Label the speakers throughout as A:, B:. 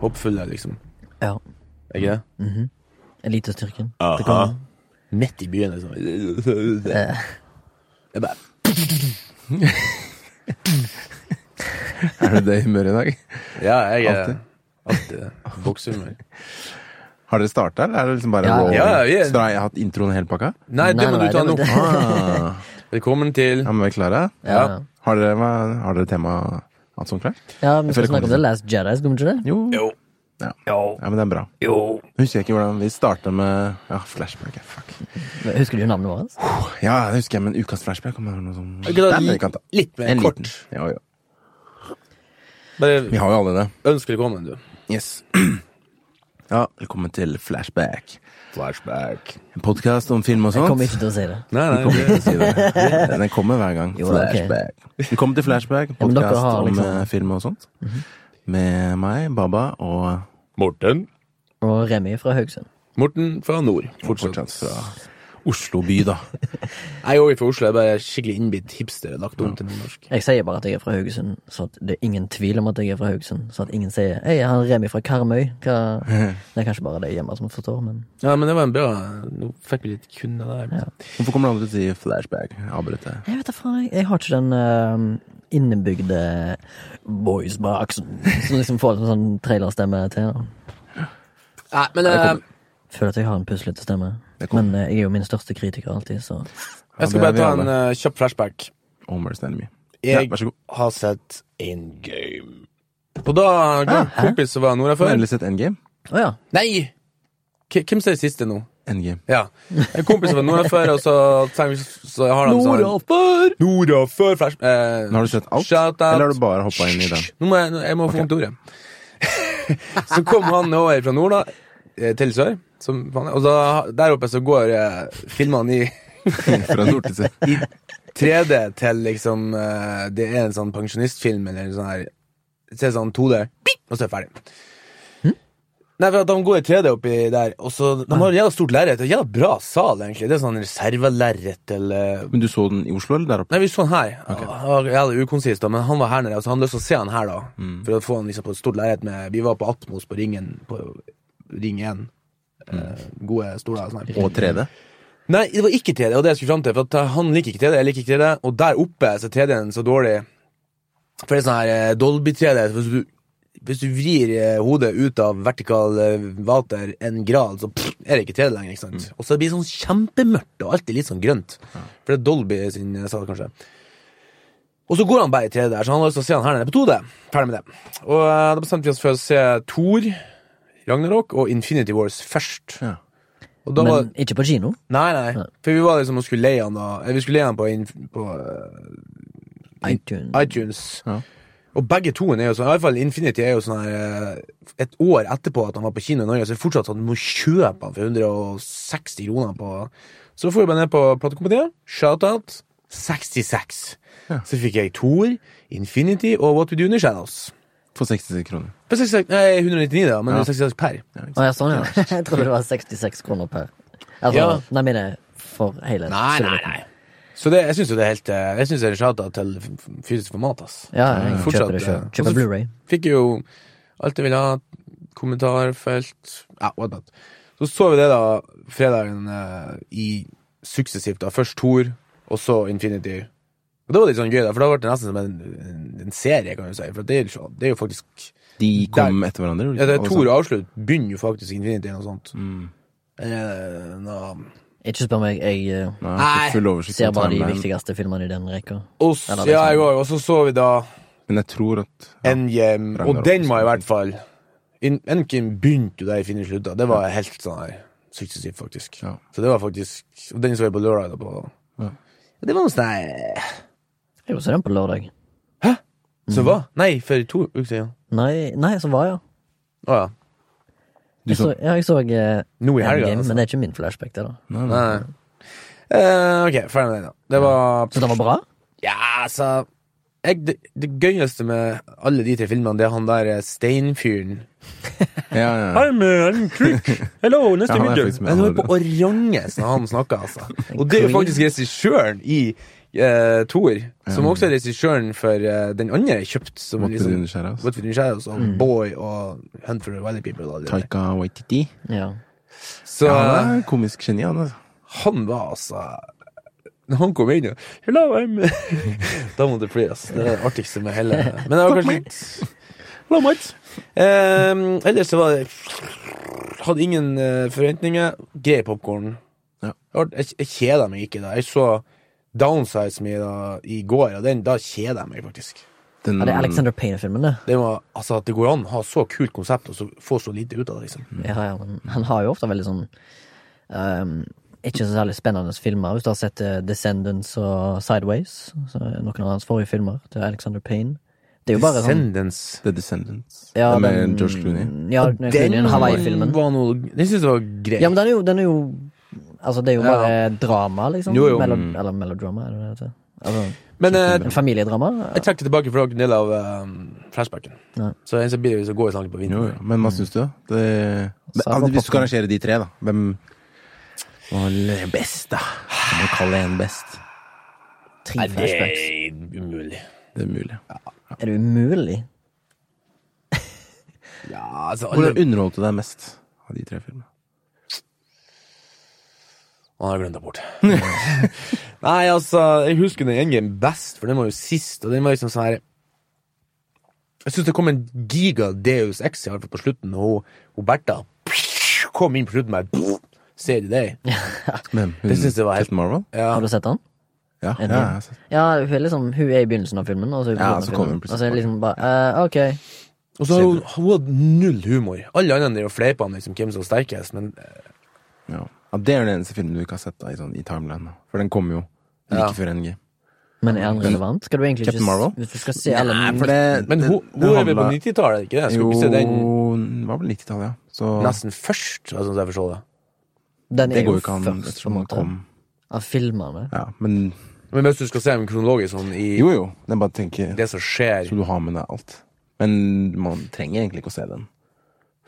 A: håpfulle, liksom.
B: Ja.
A: Er ikke det?
C: Mm.
B: mhm. Elitestyrken. Det
A: Aha.
B: kommer.
A: Midt i byen, liksom. Jeg
B: Eh,
A: bare
C: Er du det i humøret i dag?
A: Ja, jeg er
C: Alltid.
A: alltid det. Boksehumør.
C: Har dere starta, eller er det liksom bare
B: Ja.
C: raw?
A: Ja, vi er-
C: Så da har jeg hatt introen hele pakka?
A: Nei, det
B: Nei,
A: må
B: nei,
A: du ta
B: det må
A: nå.
B: du-
C: Ah,
A: Velkommen til
C: ja, men vi er klare?
B: ja.
A: Ja.
C: Har dere, hva- har dere tema alt sånn klart?
B: ja, vi skal
C: Jeg føler
B: snakke om The Last Jedi, skal vi ikke det?
C: Jo.
A: Jo.
C: Ja.
A: Jo.
C: ja, men det er bra.
A: Jo.
C: Husker jeg ikke hvordan vi starta med Ja, flashback. ja, Fuck.
B: Husker du navnet vårt?
C: Ja, det husker jeg, men ukas flashback om det var noe sånn
A: Jeg kunne ha
C: Nei, men vi
A: li-
C: kan ta
A: litt mer
C: en
A: kort.
C: liten. Ja, ja. Vi
A: Bare
C: har jo alle det.
A: ønsk velkommen, du.
C: Yes. Ja, velkommen til Flashback.
A: Flashback.
C: En podkast om film og
B: Jeg
C: sånt.
B: kommer ikke til å si det.
A: Nei, nei,
C: Kommer
A: det-
C: ikke til å si det. Den kommer hver gang.
B: Jo, ok.
C: Velkommen til Flashback,
B: men dere
C: podkast
B: har liksom- Mhm.
C: om eh, film og sånt. Med meg, Baba, og
A: Morten.
B: Og Remi fra Haugesund.
A: Morten fra nord. Fortsatt.
C: fortsatt fra Oslo by, da.
A: Jeg er også fra Oslo. Jeg er bare skikkelig innbitt hipster. Lagt om til nordnorsk.
B: Jeg sier bare at jeg er fra Haugesund, så at det er ingen tvil om at jeg er fra Haugesund. Så at ingen sier 'Hei, jeg har Remi fra Karmøy'. Hva? Det er kanskje bare de hjemme som forstår, men
A: Ja, men det var en bra Nå fikk vi litt kunne der.
B: Ja.
C: Hvorfor kommer du aldri til å si flashback? Avbryt det.
B: Jeg vet da faen, jeg, jeg har ikke den eh, innebygde voiceboxen som liksom får en sånn trailerstemme til. Da.
A: Nei, men eh,
B: Føler at jeg har en puslete stemme. Men eh, jeg er jo min største kritiker alltid, så
A: jeg skal
C: Ja,
A: bare
C: det er
A: ta
C: vi
A: en eh, kjapp flashback.
C: Homer's Enemy. Ja,
A: Jeg
C: vær så god.
A: har sett In Game. Og da
C: Ah,
A: ga en kompis som var nord
C: Har du
A: før
C: endelig sett Endgame?
B: Å ja.
A: Nei! K hvem sier siste nå?
C: Endgame.
A: Ja. En kompis som var nord før, og så, tenker vi- så har han sånn
B: Nordafor!
A: Nora før flash... Eh,
C: Men Har du sett alt,
A: Shout out.
C: eller har du bare hoppa inn i den?
A: Nå må jeg, nå- jeg må få vondt i ordet. så kom han over fra nord, da, eh, til sør. Som, faen, og da, der oppe så går eh, filmene i,
C: Fra nord til sør.
A: i 3D til liksom eh, Det er en sånn pensjonistfilm eller en sånn her Se sånn 2D, bip, og så er det ferdig. Nei, for at De går i 3D oppi der, og så de har jævla stort lerret. og Jævla bra sal, egentlig. Det er sånn reservelerret eller
C: Men du så den i Oslo, eller der oppe?
A: Nei, vi så han her. Han var jævlig ukonsist, da, men han var her nede. Altså, han hadde lyst til å se han her, da. For å få han liksom på et stort lerret med Vi var på Atmos på Ringen, på Ring 1. Eh, gode stoler og sånn. her.
C: Og 3D?
A: Nei, det var ikke 3D, og det jeg skulle fram til. For at eh, han liker ikke 3D, jeg liker ikke 3D. Og der oppe så er 3D-en så dårlig. For det er sånn her eh, Dolby 3D. så Hvis du, hvis du vrir eh, hodet ut av vertikal eh, vater en grad, så pff, er det ikke 3D lenger. ikke sant? Og så blir det sånn kjempemørkt, og alltid litt sånn grønt. For det er Dolby sin eh, sal, kanskje. Og så går han bare i 3D der, så han har lyst til å se han her nede på 2D. Ferdig med det. Og eh, da bestemte vi oss for å se Thor, Ragnarok og Infinity Wars først.
C: Ja.
A: Og da var
B: Men ikke på kino.
A: Nei, nei,
B: Nei.
A: For vi var liksom og skulle leie han da eh, Vi skulle leie han på, inn- på
B: iTunes.
A: eh, iTunes.
C: Ja.
A: Og begge toen er jo sånn, i hvert fall Infinity er jo sånn her eh, Et år etterpå at han var på kino i Norge, så er det fortsatt sånn at du må kjøpe han for 160 kroner på Så får vi bare ned på platekompaniet. Shoutout. 66. Så fikk jeg Thor, Infinity og What We Do In The Shadows.
C: For 60 kroner.
A: For 66, nei, 199, da, men
C: Ja.
A: 66 per.
B: Å ja, sånn, ja. Jeg trodde det var 66 kroner per. Altså,
A: Ja.
B: Nei, mine er for hele silhouetten.
A: Så det, jeg syns jo det er helt eh, Jeg synes det er en shoutout til f- f- fysisk format, ass.
B: Ja, jeg
A: Fortsatt,
B: kjøper det
A: eh,
B: selv.
A: også-
B: Kjøper Blu-ray.
A: Fikk jo alt jeg ville ha. Kommentarfelt Ja, what not. Så så vi det da fredagen eh, i suksessivt. da Først Thor, og så Infinity. Og Det var litt sånn gøy, da for da ble det nesten som en, en, en serie, kan du si. For det er, jo- det er jo faktisk
C: De kom etter hverandre? gjorde de
A: ja, det er
C: ikke?
A: Thor
C: Alle sammen.
A: avslutt begynner jo faktisk Infinity eller noe sånt.
C: Mm.
A: Eh, nå-
B: Ikke spør meg, jeg eh,
C: Nei, jeg har ikke full oversikt
B: ser
C: over
B: bare de
C: timeline,
B: viktigste filmene i den rekka.
A: Og s-
B: Eller det
A: ja,
B: som-
A: jeg går, og så så vi da
C: Men jeg tror at ja.
A: Endgame, og
C: Ragnarok.
A: den var i hvert fall In- Endgame begynte jo der i Finne slutta. Det var helt sånn her suksessivt, faktisk.
C: Ja.
A: Så det var faktisk Og den så jeg på lørdag. da, På.
C: Ja.
A: Det var noe sånn her
B: Jeg vil se den på lørdag.
A: Så hva? Nei, for to uker siden.
B: Nei, nei som var, ja.
A: Å ja.
C: Du
B: Jeg så,
C: så
B: ja, jeg så eh,
A: Nå i helga.
B: Endgame,
A: Altså.
B: men det er ikke min flashback, det, da.
C: Nei, nei.
A: Nei. Eh, ok, ferdig med den, da. Det var
B: Så den var bra?
A: Ja, altså jeg, det, det gøyeste med alle de tre filmene, det er han der eh, steinfyren.
C: Ja, ja, ja.
A: I'm, uh, I'm Crick. Hello, nice
C: Ja,
A: to
C: han er
A: meet you.
C: faktisk med,
A: Han
C: han
A: er
C: er
A: på oranges når han snakker, altså. Og det er jo faktisk regissøren i eh, Thor, som også er regissøren for eh, den andre jeg kjøpt som
C: Måtte du
A: liksom,
C: underskjære oss?
A: What We Do in Shadows og Boy og Hunt for the Wilder People. Og alt det der.
C: Taika Waititi.
B: Ja.
A: Så
C: Ja, han er en komisk geni, han, altså.
A: han var altså Når han kom inn og Hello, I'm Da måtte det flire, altså. Det er det artigste med hele Men det var kanskje Hello, mates. Ehm, ellers så var det Hadde ingen eh, forventninger. Grei popkorn.
C: Ja.
A: Jeg, jeg kjeda meg ikke da. Jeg så Downsize Me da, i går, og den, da kjeda jeg meg faktisk.
C: Den,
B: ja, det er Alexander Payne-filmen, det.
A: Det var, altså At det går an å ha så kult konsept og så få så lite ut av det. liksom
B: Ja, ja, men han har jo ofte veldig sånn ehm, Ikke så særlig spennende filmer. Hvis du har sett eh, Descendants og Sideways, så er noen av hans forrige filmer til Alexander Payne Det er jo bare sånn
A: Descendants.
C: The Descendants.
B: ja,
C: det er med
B: den-
C: George Clooney.
B: Ja, den, den Hawaii-filmen.
A: var noe Den syns jeg var grei.
B: Ja, men den er jo, den er jo Altså, det er jo
A: Ja.
B: bare drama, liksom.
A: Jo, jo.
B: Melo, eller melodrama, er det det heter. Altså,
A: men eh,
B: en familiedrama?
A: Jeg trekker tilbake for en del av eh, flashbacken.
B: Ja.
A: Så en som blir så går jeg snakket på
C: Jo,
A: vinden.
C: ja. Men hva syns du, da? Det, men,
B: Sarah
C: altså, hvis du skal
B: Popcorn.
C: rangere de tre, da. Hvem var l- best, da? Du må kalle en best.
B: Tre flashbacks.
A: er umulig.
C: Det er mulig.
B: Er det umulig?
A: Ja, altså alle...
C: Hvordan underholdte deg mest av de tre filmene?
A: Han har glemt det bort. Nei, altså, jeg husker den Endgame best, for den var jo sist, og den var liksom sånn her Jeg syns det kom en giga Deus Ex i hvert fall på slutten, og hun- hun Bertha kom inn på slutten med Ser du det?
C: Men, hun,
A: Det synes jeg var helt-
C: Captain Marvel?
A: Ja.
B: Har du sett den?
C: Ja, ja,
B: En
C: ja,
B: film. Ja, hun er liksom Hun er i begynnelsen av filmen, og så er hun på slutten
C: Ja,
B: av
C: så kommer hun
B: filmen.
C: plutselig
B: Og så er det liksom bare eh, Ok.
A: Og så har hun, hun hadde null humor. Alle andre drev og fleipa om liksom, hvem som var sterkest, men
C: ja. ja, Det er den eneste filmen du ikke har sett da, i, sånn, i timeline. da. For den kom jo like
A: Ja.
C: før NG.
B: Men er han relevant? Skal du egentlig
C: Mm. Captain
B: ikke
C: Marvel?
B: Hvis du skal se alle
C: Nei, for det,
A: Men
C: det-
A: hun,
C: Eh, det
A: hun er vel på
C: handla-
A: 90-tallet, ikke det? Skulle
C: Jo,
A: ikke se den
C: den var vel 90-tallet, ja. Så
A: nesten først, sånn som jeg forstår det.
B: Den
C: det
B: er
C: går
B: jo
C: jo ikke an
B: først, på en
C: ettersom den
B: måte.
C: kom.
B: Av filmene.
C: Ja, men
A: Men hvis du skal se dem kronologisk sånn i
C: jo, jo. Jeg bare tenker
A: det som skjer
C: Så du har med deg alt. Men man trenger egentlig ikke å se den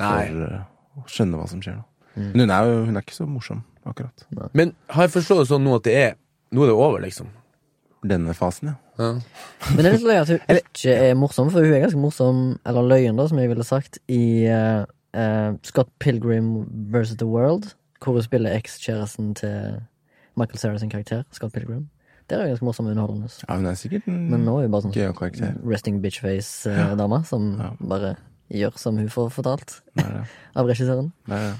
A: Nei.
C: for eh, å skjønne hva som skjer nå.
B: Mm.
C: Men hun er jo hun er ikke så morsom, akkurat.
A: Men har jeg forstått det sånn nå at det er Nå er det over, liksom?
C: Denne fasen, ja.
A: Ja.
B: Men det er litt løye at hun ikke er morsom, for hun er ganske morsom, eller løyen, da, som jeg ville sagt, i eh, eh, Scott Pilgrim vs. The World, hvor hun spiller ekskjæresten til Michael Cera sin karakter, Scott Pilgrim. Der er hun ganske morsom og underholdende.
C: ja hun er sikkert en
B: Men nå er hun bare sånn
C: gøyal karakter.
B: resting bitchface-dama som bare gjør som hun får fortalt
C: Det er det.
B: av regissøren.
C: Det er det.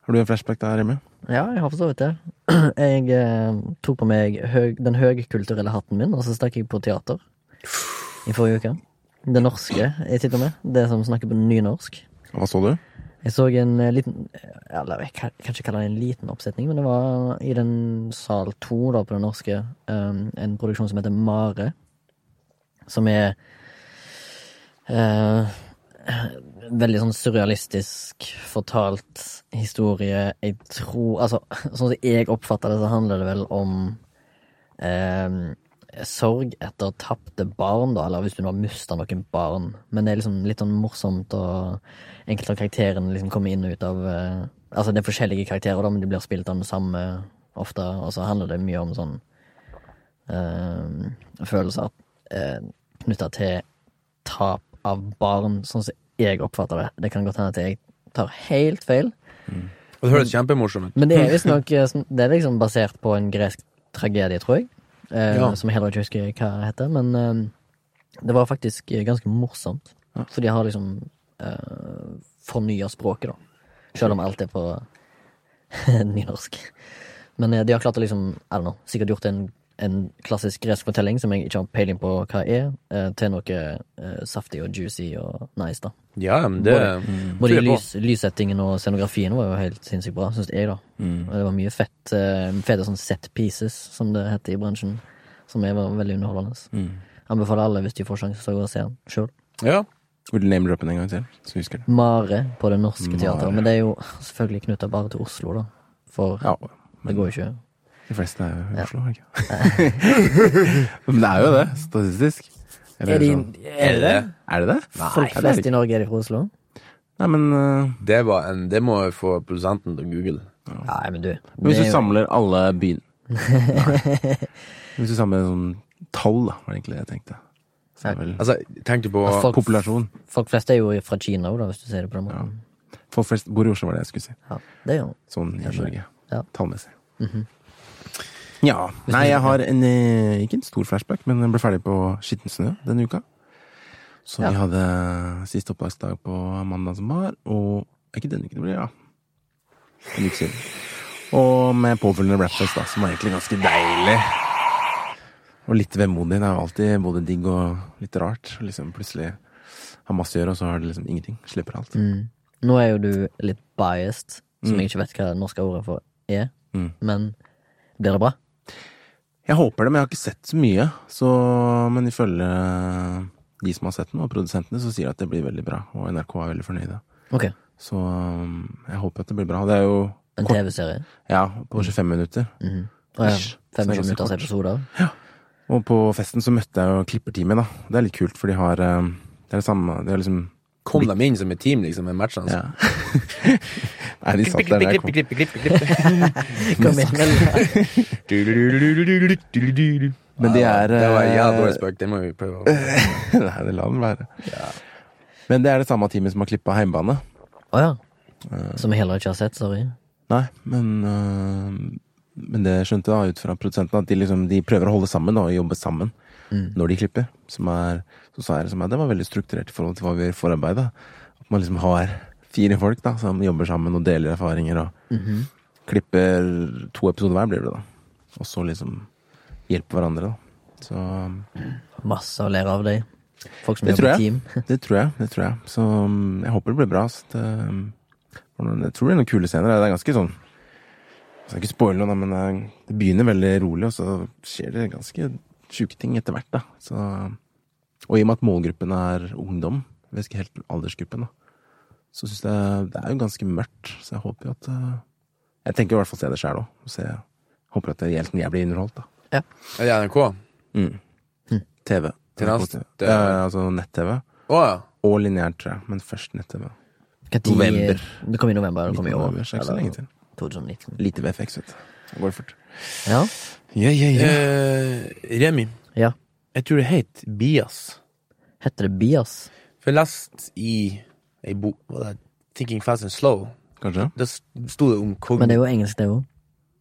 C: Har du en flashback der hjemme?
B: Ja, jeg har for så vidt det. Jeg eh, tok på meg høg, den høgkulturelle hatten min, og så stakk jeg på teater i forrige uke. Det norske, jeg sitter med. Det som snakker på nynorsk.
C: Hva så du?
B: Jeg så en eh, liten Eller jeg kan kan ikke kalle det en liten oppsetning, men det var i den sal to da, på det norske. eh, en produksjon som heter Mare. Som er eh, veldig sånn surrealistisk fortalt historie. Jeg tror Altså, sånn som jeg oppfatter det, så handler det vel om eh, sorg etter tapte barn, da, eller hvis du nå har mista noen barn. Men det er liksom litt sånn morsomt, og enkelte av karakterene liksom kommer inn og ut av eh, Altså, det er forskjellige karakterer, da, men de blir spilt av den samme ofte, og så handler det mye om sånn eh, følelser uh, knytta til tap av barn, sånn som jeg oppfatter det. Det kan godt hende at jeg tar helt feil.
A: Og det høres kjempemorsomt ut.
B: Men det er visstnok eh, sånn- Det er liksom basert på en gresk tragedie, tror jeg. Eh,
A: Ja.
B: Som jeg heller ikke husker hva heter. Men eh, det var faktisk eh, ganske morsomt. For de har liksom eh, fornya språket, da. Selv om alt er på nynorsk. Men eh, de har klart å liksom I don't know, sikkert gjort en, en klassisk gresk fortelling som jeg ikke har peiling på hva er, eh, til noe eh, saftig og juicy og nice, da.
A: Ja, men det
C: Mm.
B: Både
A: tror jeg på.
B: lys, lyssettingen og scenografien var jo helt sinnssykt bra, syns jeg, da.
C: Mm.
B: Og det var mye fett, eh, fete sånn set pieces, som det heter i bransjen, som er var veldig underholdende.
C: Mm.
B: Anbefaler alle, hvis de får sjansen, til å gå og se den sjøl.
A: Ja.
C: Vil du name-droppe den en gang til? Så husker jeg det.
B: Mare på Det Norske Teatret,
C: Mare.
B: men det er jo selvfølgelig knytta bare til Oslo, da. For
C: Ja,
B: det går jo ikke
C: de fleste er jo i Oslo, er det ikke? Men det er jo det, statistisk. Eller
B: Er de-
C: sånn-
B: er det det?
C: Er det det?
B: Folk
C: Ja, det er
B: flest i
C: det ikke.
B: Norge er de fra Oslo?
C: Nei, men eh,
A: Det, var en, det må jeg få produsenten til å google.
B: Nei, men du. det
C: hvis
B: er
C: du
B: jo-
C: samler alle byen Hvis du samler sånn tall, da, var det egentlig det jeg tenkte. Så er det vel
A: Altså, tenk på
B: Ja, folk-
C: populasjon.
B: Folk flest er jo fra Kina, da, hvis du sier det på den måten.
C: Folk flest bor i Oslo, var det jeg skulle si.
B: Ja, det gjør man.
C: Sånn i Norge.
B: Ja.
C: Tallmessig. Ja. Nei, jeg har en eh, ikke en stor flashback, men jeg ble ferdig på Skitten snø denne uka. Så vi
B: Ja.
C: hadde siste opptaksdag på mandag som var, og ikke denne uken det blir, ja. En uke siden. Og med påfølgende rapfest, da, som var egentlig ganske deilig. Og litt vemodig. Det er jo alltid både digg og litt rart. Liksom plutselig har masse å gjøre, og så har det liksom ingenting. Slipper alt.
B: Mm. Nå er jo du litt biased, som jeg ikke vet hva det norske ordet for er,
C: Mm.
B: men blir det bra?
C: Jeg håper det, men jeg har ikke sett så mye. Så, men ifølge de som har sett den, og produsentene, så sier de at det blir veldig bra. Og NRK er veldig fornøyde.
B: Ok,
C: Så um, jeg håper at det blir bra. Det er jo
B: en
C: kort,
B: TV-serie?
C: ja,
A: Mm.
C: på 25 minutter.
B: Mhm. Og ja,
C: Ish. Så det er
B: 25
C: ganske
B: minutters
C: kort.
B: episoder?
C: Og på festen så møtte jeg jo klipperteamet, da. Det er litt kult, for de har um, Det er det samme Det er liksom
A: Kom dem inn som et team, liksom, med matchene.
C: ja. Nei, de satt der da jeg kom.
B: Kom inn, vel.
C: Men de er
A: Det var en jævla
C: eh,
A: dårlig spøk, det må vi prøve å
C: Nei, det lar den være. Men det er det samme teamet som har klippa Heimbane.
B: Å ja.
C: Eh.
B: Som jeg heller ikke har sett, sorry.
C: Nei, men, øh, men det skjønte jeg da ut fra produsenten, at de, liksom, de prøver å holde sammen da, og jobbe sammen når de klipper. Som er, så sa jeg liksom, at det var veldig strukturert i forhold til hva vi gjør i forarbeidet. At man liksom har fire folk da, som jobber sammen og deler erfaringer og klipper to episoder hver, blir det da. Og så liksom hjelper hverandre, da. Så
B: Masse å lære av deg. Folk som
C: det tror
B: jobber i
C: jeg.
B: team.
C: Det tror jeg. det tror jeg. Så mm, jeg håper det blir bra. Så det, mm, for noen- jeg tror det er noen kule scener. Det er ganske sånn Jeg skal ikke spoile noe, da, men det, er- det begynner veldig rolig, og så skjer det ganske sjuke ting etter hvert. da. Så, um, og i og med at målgruppen er ungdom, jeg vet ikke helt aldersgruppen, da, så syns jeg det er jo ganske mørkt. Så jeg håper jo at eh, Jeg tenker i hvert fall se det sjæl òg. og se- Håper at det er helt jeg blir underholdt, da.
A: Er det NRK? Å
C: TV.
A: Til neste-
C: Ja, altså nett-TV.
A: ja.
C: Og lineært, tror jeg. Men først nett-TV.
B: Hva tid-
C: November.
B: Det kom i november, det kom i
C: Midten av
B: år.
C: november, så er det ikke så
B: eller
C: lenge til.
B: 2019.
C: Lite VFX, vet du. Så går det fort.
B: Ja.
A: Eh, Remi,
B: ja.
A: jeg tror det het Bias.
B: Heter det Bias?
A: For jeg leste i ei bok hva det er, Thinking Fast and Slow.
C: Kanskje?
A: Da s- sto det om kogn...
B: Men det er jo engelsk, det òg.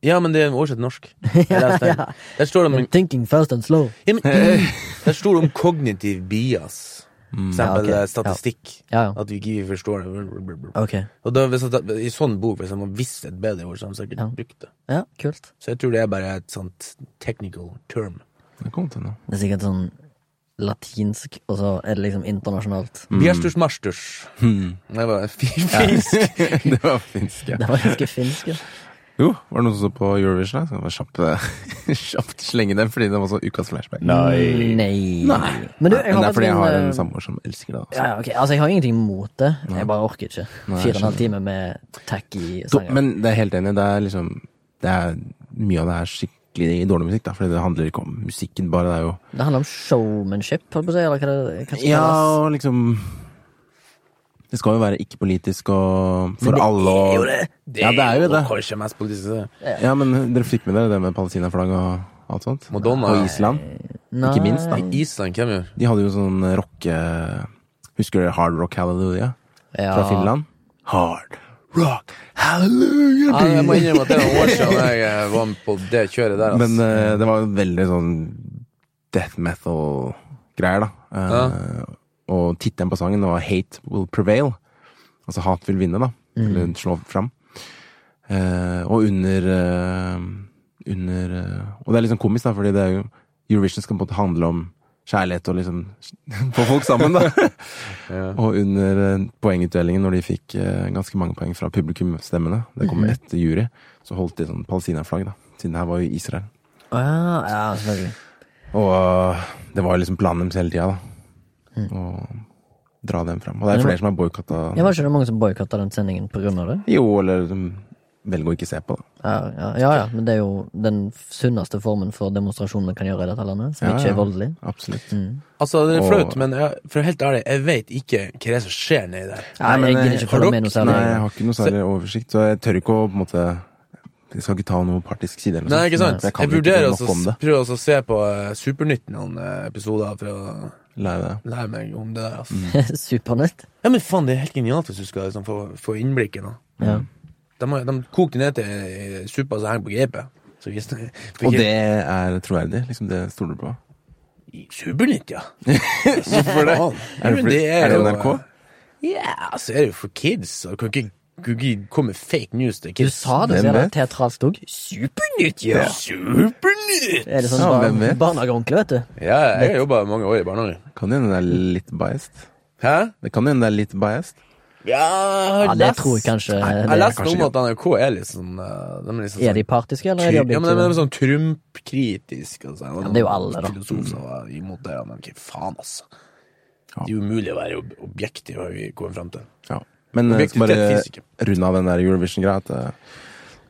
A: Ja, men det er oversett til norsk. Jeg leste den. Der står
C: Mm.
A: det om
B: Thinking fast and slow.
A: ja, men, Der står det om kognitiv bias.
C: Mm.
A: For eksempel
B: Ja, ok.
A: eh, statistikk.
B: Ja, ja.
A: At vi ikke forstår det.
B: Ok.
A: Og da, hvis at, I sånn bok, hvis man visste et bedre ord, så hadde man sikkert
B: Ja.
A: brukt det.
B: Ja, kult.
A: Så jeg tror det er bare et sånt technical term.
C: Det kom til nå.
B: Det er sikkert sånn latinsk, og så er det liksom internasjonalt.
C: Mm.
A: Bjærstus marstus. Det var en fin fisk.
C: det var finsk, ja.
B: Det var ganske finsk, ja.
C: Jo, var det noen som så på Eurovision? her? Så kan jeg bare kjapt, eh, kjapt slenge den, fordi det var så ukas flashback.
B: Mm, Nei. Men
C: Men,
B: du, jeg har
C: det er fordi jeg har en
B: faktisk en, eh,
C: samboer som elsker det. Altså.
B: ja, ja, ok. Altså, jeg har ingenting mot det. Jeg bare orker ikke. Fire
C: Nei,
B: og en
C: skjønner.
B: halv time med tacky
C: Do,
B: sanger.
C: men det er helt enig. Det er liksom det er, Mye av det er skikkelig dårlig musikk, da, fordi det handler ikke om musikken, bare det er jo
B: Det handler om showmanship, holdt på å si, eller hva det hva det
C: Ja,
B: kalles.
C: og liksom Det skal jo være ikke-politisk og for
B: Men det
C: alle
B: er jo
C: og
B: det.
C: Ja, det er jo det.
A: Kanskje mest politiske.
C: Ja, men dere fikk med dere det med palestinaflagg og alt sånt?
A: Madonna.
C: Og Island? Ikke minst, da.
A: Island, hvem gjør?
C: De hadde jo sånn rocke Husker dere Hard Rock Hallelujah
B: Ja.
C: fra Finland? Hard Rock Hallelujah!
A: Ja, jeg må innrømme at det var år siden jeg eh, var med på det kjøret der. ass.
C: Men eh, det var veldig sånn death metal-greier, da. Eh, Og tittelen på sangen var 'Hate Will Prevail'. Altså 'Hat vil vinne', da. Eller slå fram. Eh, og under eh, Under eh, Og det er litt sånn komisk, da, fordi det er jo Eurovision skal på en måte handle om kjærlighet og liksom få folk sammen, da. Og under eh, poengutdelingen, når de fikk eh, ganske mange poeng fra publikumstemmene, det kom etter jury, så holdt de sånn palestinaflagg, da. Siden det her var jo Israel.
B: Ja, ja, selvfølgelig.
C: Og øh, det var jo liksom planen deres hele tida, da.
B: Mm.
C: Å dra dem fram. Og det er flere som har boikotta
B: Jeg var ikke det mange som boikotta den sendingen på grunn av det?
C: Jo, eller som velger å ikke se på, da.
B: Ja, ja, ja, ja, men det er jo den sunneste formen for demonstrasjon man kan gjøre i dette landet, som
C: Ja,
B: ikke
C: ja.
B: er voldelig. Mm.
C: Absolutt.
A: Altså, det er
C: Og-
A: flaut, men jeg, for helt ærlig, jeg vet ikke hva det er som skjer nedi der.
B: Nei,
C: men
B: jeg
C: jeg-
B: gidder ikke
A: har
B: følge
A: dere-
B: med noe
C: Nei,
B: særlig.
C: jeg har ikke noe særlig oversikt, så jeg tør ikke å på en måte Jeg skal ikke ta noe partisk side. eller
A: Nei,
C: noe sånt.
A: ikke sant? Jeg,
C: For Altså, kan vel
A: vurderer
C: ikke
A: også
C: nok om
A: å
C: det.
A: prøve også å se på eh, Supernytt noen eh, episoder for å
C: Lære det.
A: lære meg om det der. Altså.
C: Mm.
B: Supernytt.
A: Ja, men faen, det er helt genialt hvis du skal liksom, få, få innblikk i noe.
B: Ja.
A: De, har- de kokte ned til eh, suppa som henger på grepet. Så visste jeg
C: Og det er troverdig. liksom Det stoler du på.
A: Supernytt, ja. Hvorfor det?
C: Er det, fordi- er det NRK?
A: Ja, så er det jo for kids. Og du kan ikke, kan ikke komme med fake news til
B: Du
A: kids.
B: sa det,
C: Hvem
B: ser du.
C: vet?
B: Teatralsk òg. Supernytt, ja!
A: Supernytt!
B: Er det sånn
C: Ja,
B: bar
C: hvem vet?
B: barnehageonkel, vet du?
A: Ja, jeg har jobba mange år i barnehage.
C: Kan jo hende det er litt biased.
A: Hæ?
C: Det kan jo hende det er litt biased.
A: Ja,
B: Ja, det tror jeg kanskje.
A: Jeg
B: Det.
A: leste om at NRK er litt sånn eh, De er litt sånn
B: Er de partiske, eller er de
A: Ja, men de er
B: objektive?
A: sånn Trump-kritisk. Altså.
B: Ja, det er jo alle, da.
A: Filosof som var imot det. Men hva faen, altså.
C: Ja.
A: Det er umulig å være ob- objektiv, har vi kommet frem til.
C: Ja. Men jeg skal
A: Objektivitet
C: bare
A: finnes ikke.
C: runde av den der Eurovision-greia. at eh,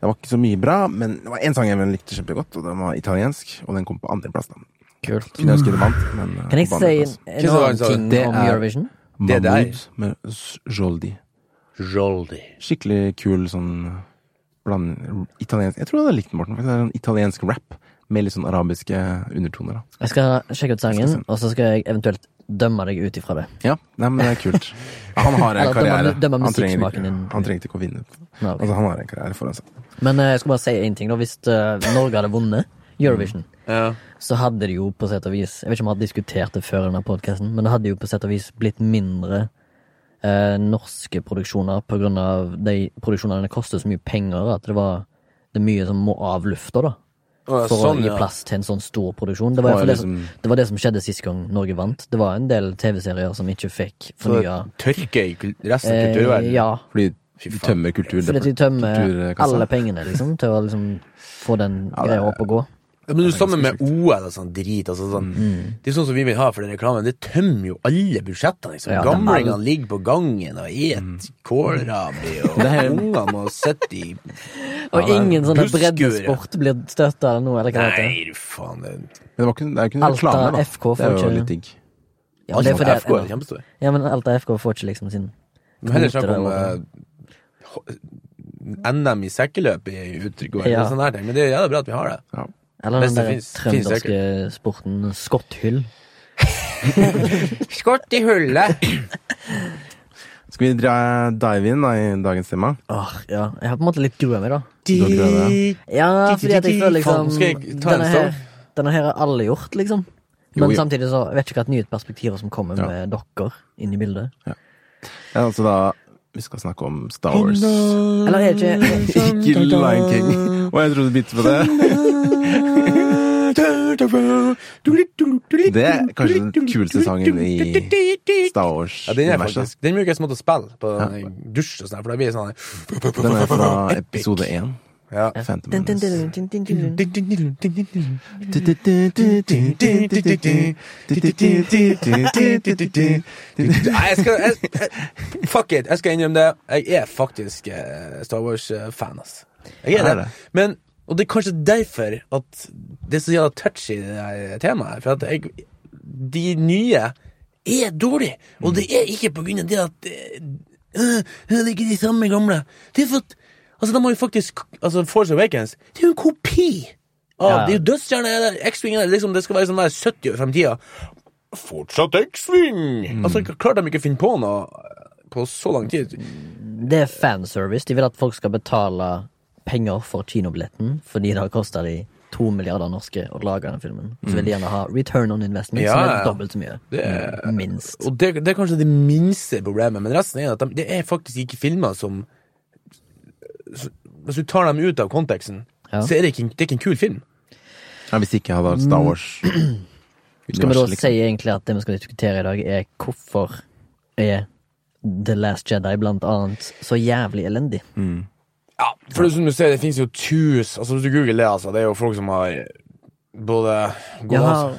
C: Det var ikke så mye bra, men det var én sang jeg likte kjempegodt, og den var italiensk. Og den kom på andreplass. da.
B: Kult.
C: Kunne ønske det vant, men eh,
B: Kan jeg
C: på
B: si
C: andreplass.
B: en- en annen
A: sa du?
B: ting
C: Det
B: om
C: er-
B: Eurovision?
A: Det der.
C: Mahmoud med Joldi.
A: Joldi.
C: Skikkelig kul sånn bland, italiensk Jeg tror jeg hadde likt den, Morten. faktisk. Det er en italiensk rap med litt sånn arabiske undertoner. da.
B: Jeg skal sjekke ut
C: Jeg skal
B: sangen,
C: se.
B: og så skal jeg eventuelt dømme deg ut ifra det.
C: Ja, nei, men det er kult. Han har en
B: Eller, den var-
C: karriere.
B: den var
C: Han trenger,
B: musikksmaken din.
C: han trenger ikke å vinne.
B: Nei, ok.
C: Altså, han har en karriere foran seg.
B: Men eh, jeg skal bare si én ting, da. Hvis eh, Norge hadde vunnet Eurovision,
A: Ja.
B: så hadde det jo på sett og vis Jeg vet ikke om vi hadde diskutert det før i denne podkasten, men det hadde jo på sett og vis blitt mindre eh, norske produksjoner på grunn av de produksjonene koster så mye penger at det var det er mye som må av lufta, da.
A: Å, ja,
B: For
A: sånn,
B: å gi
A: ja.
B: plass til en sånn stor produksjon. Det var, i hvert fall det, som,
C: liksom-
B: det var det som skjedde sist gang Norge vant. Det var en del TV-serier som ikke fikk fornya
A: Tørke i kul- resten av
B: eh,
A: kulturverdenen.
B: Ja,
C: Fordi
A: Fy
C: vi
A: faen.
C: tømmer kultur.
B: fordi de tømmer
C: kulturkassa.
B: alle pengene, liksom, til å liksom få den
C: Ja, det-
B: greia opp og gå.
A: Ja, Men du sammen med OL og sånn drit. Altså, sånn. Det er sånn som vi vil ha for den reklamen. Det tømmer jo alle budsjettene. Liksom.
B: Ja, det-
A: Gamlingene ligger på gangen og et kålrabi, og ungene må sitte i
B: Og
C: det er
B: ingen sånn
A: busskur,
B: breddesport blir støtta eller noe, eller hva det heter.
A: Nei, du faen. Det
C: Men det var ikke, det er jo ikke noe
B: Alta
C: reklame, da.
B: FK får
C: det er jo
B: ikke-
C: litt digg.
B: Ja, og det er fordi
A: FK er
B: at,
A: kjempestor.
B: ja, men Alta FK får ikke liksom sin
A: Men heller snakk
B: kvote
A: om
B: der, og-
A: eh, ho- NM i sekkeløp i utgående,
B: Ja.
A: og sånne her ting. Men det er jævla bra at vi har det.
C: Ja.
B: Eller den
A: Beste
B: der
A: finnes- finnes
B: trønderske sporten skotthyll.
A: Skott i hullet!
C: Skal vi dra dive inn da, i dagens tema?
A: Ah,
B: Åh, ja. Jeg har på en måte litt grua mi, da.
C: Du har prøvd det.
B: Ja, fordi at jeg føler
A: Faen,
B: liksom
A: nå skal jeg ta en
B: denne her,
A: start.
B: denne her har alle gjort, liksom.
C: Jo,
B: Men
C: jo.
B: samtidig så vet jeg ikke hva et nytt perspektiv som kommer
C: Ja.
B: med dere inn i bildet.
C: Ja, altså da, Vi skal snakke om Star Wars.
B: Eller er det ikke
C: Ikke Lion King. Og jeg trodde du begynte på det. Det er kanskje den kuleste sangen i Star
A: Ja, den er
C: Wars-universet.
A: faktisk Den bruker jeg som måte å spille på dusj og sånn, for da blir det sånn
C: Den er fra episode én.
A: ja.
C: Phantom
B: Dun, dun,
C: Menace.
B: dun, dun, dun, dun, dun.
A: Nei, jeg skal jeg, jeg, Fuck it, jeg skal innrømme det. Jeg er faktisk eh, Star Wars-fan, ass. Jeg
C: Er
A: er det.
C: det?
A: Men, og det er kanskje derfor at det er så jævla touchy, det her temaet. For at jeg, de nye er dårlige, og det er ikke på grunn av det at eh, øh, Det er ikke de samme gamle. Det er for at Altså, de har jo faktisk altså, Force Awakens Det er jo en kopi! Av,
B: Ja, ja.
A: Det er jo dødsstjerner eller X-Wing eller liksom, Det skal være sånn der 70 år frem i tida. Fortsatt X-Wing! Altså, klarte de ikke å finne på noe eh, på så lang tid?
B: Det er fanservice. De vil at folk skal betale penger for kinobilletten fordi det har kosta de to milliarder norske å lage den filmen. Så vil de gjerne ha return on investment,
A: Ja,
B: som
A: Mm. ja,
B: er
A: ja.
B: dobbelt så mye. Mm,
A: Det er-
B: Minst.
A: Og det, det er kanskje det minste problemet, men resten er at de, det er faktisk ikke filmer som så- Hvis du tar dem ut av konteksten,
B: Ja.
A: så er det ikke, en- det er ikke en kul film.
C: Ja, hvis ikke hadde vært Star Wars
B: Skal vi da
C: Universet,
B: si egentlig at det vi skal diskutere i dag, er hvorfor er The Last Jedi blant annet så jævlig elendig?
A: Mm. Ja, for det, som du sier, det finnes jo tus Altså, Hvis du googler det, altså, det er jo folk som har både
B: De har,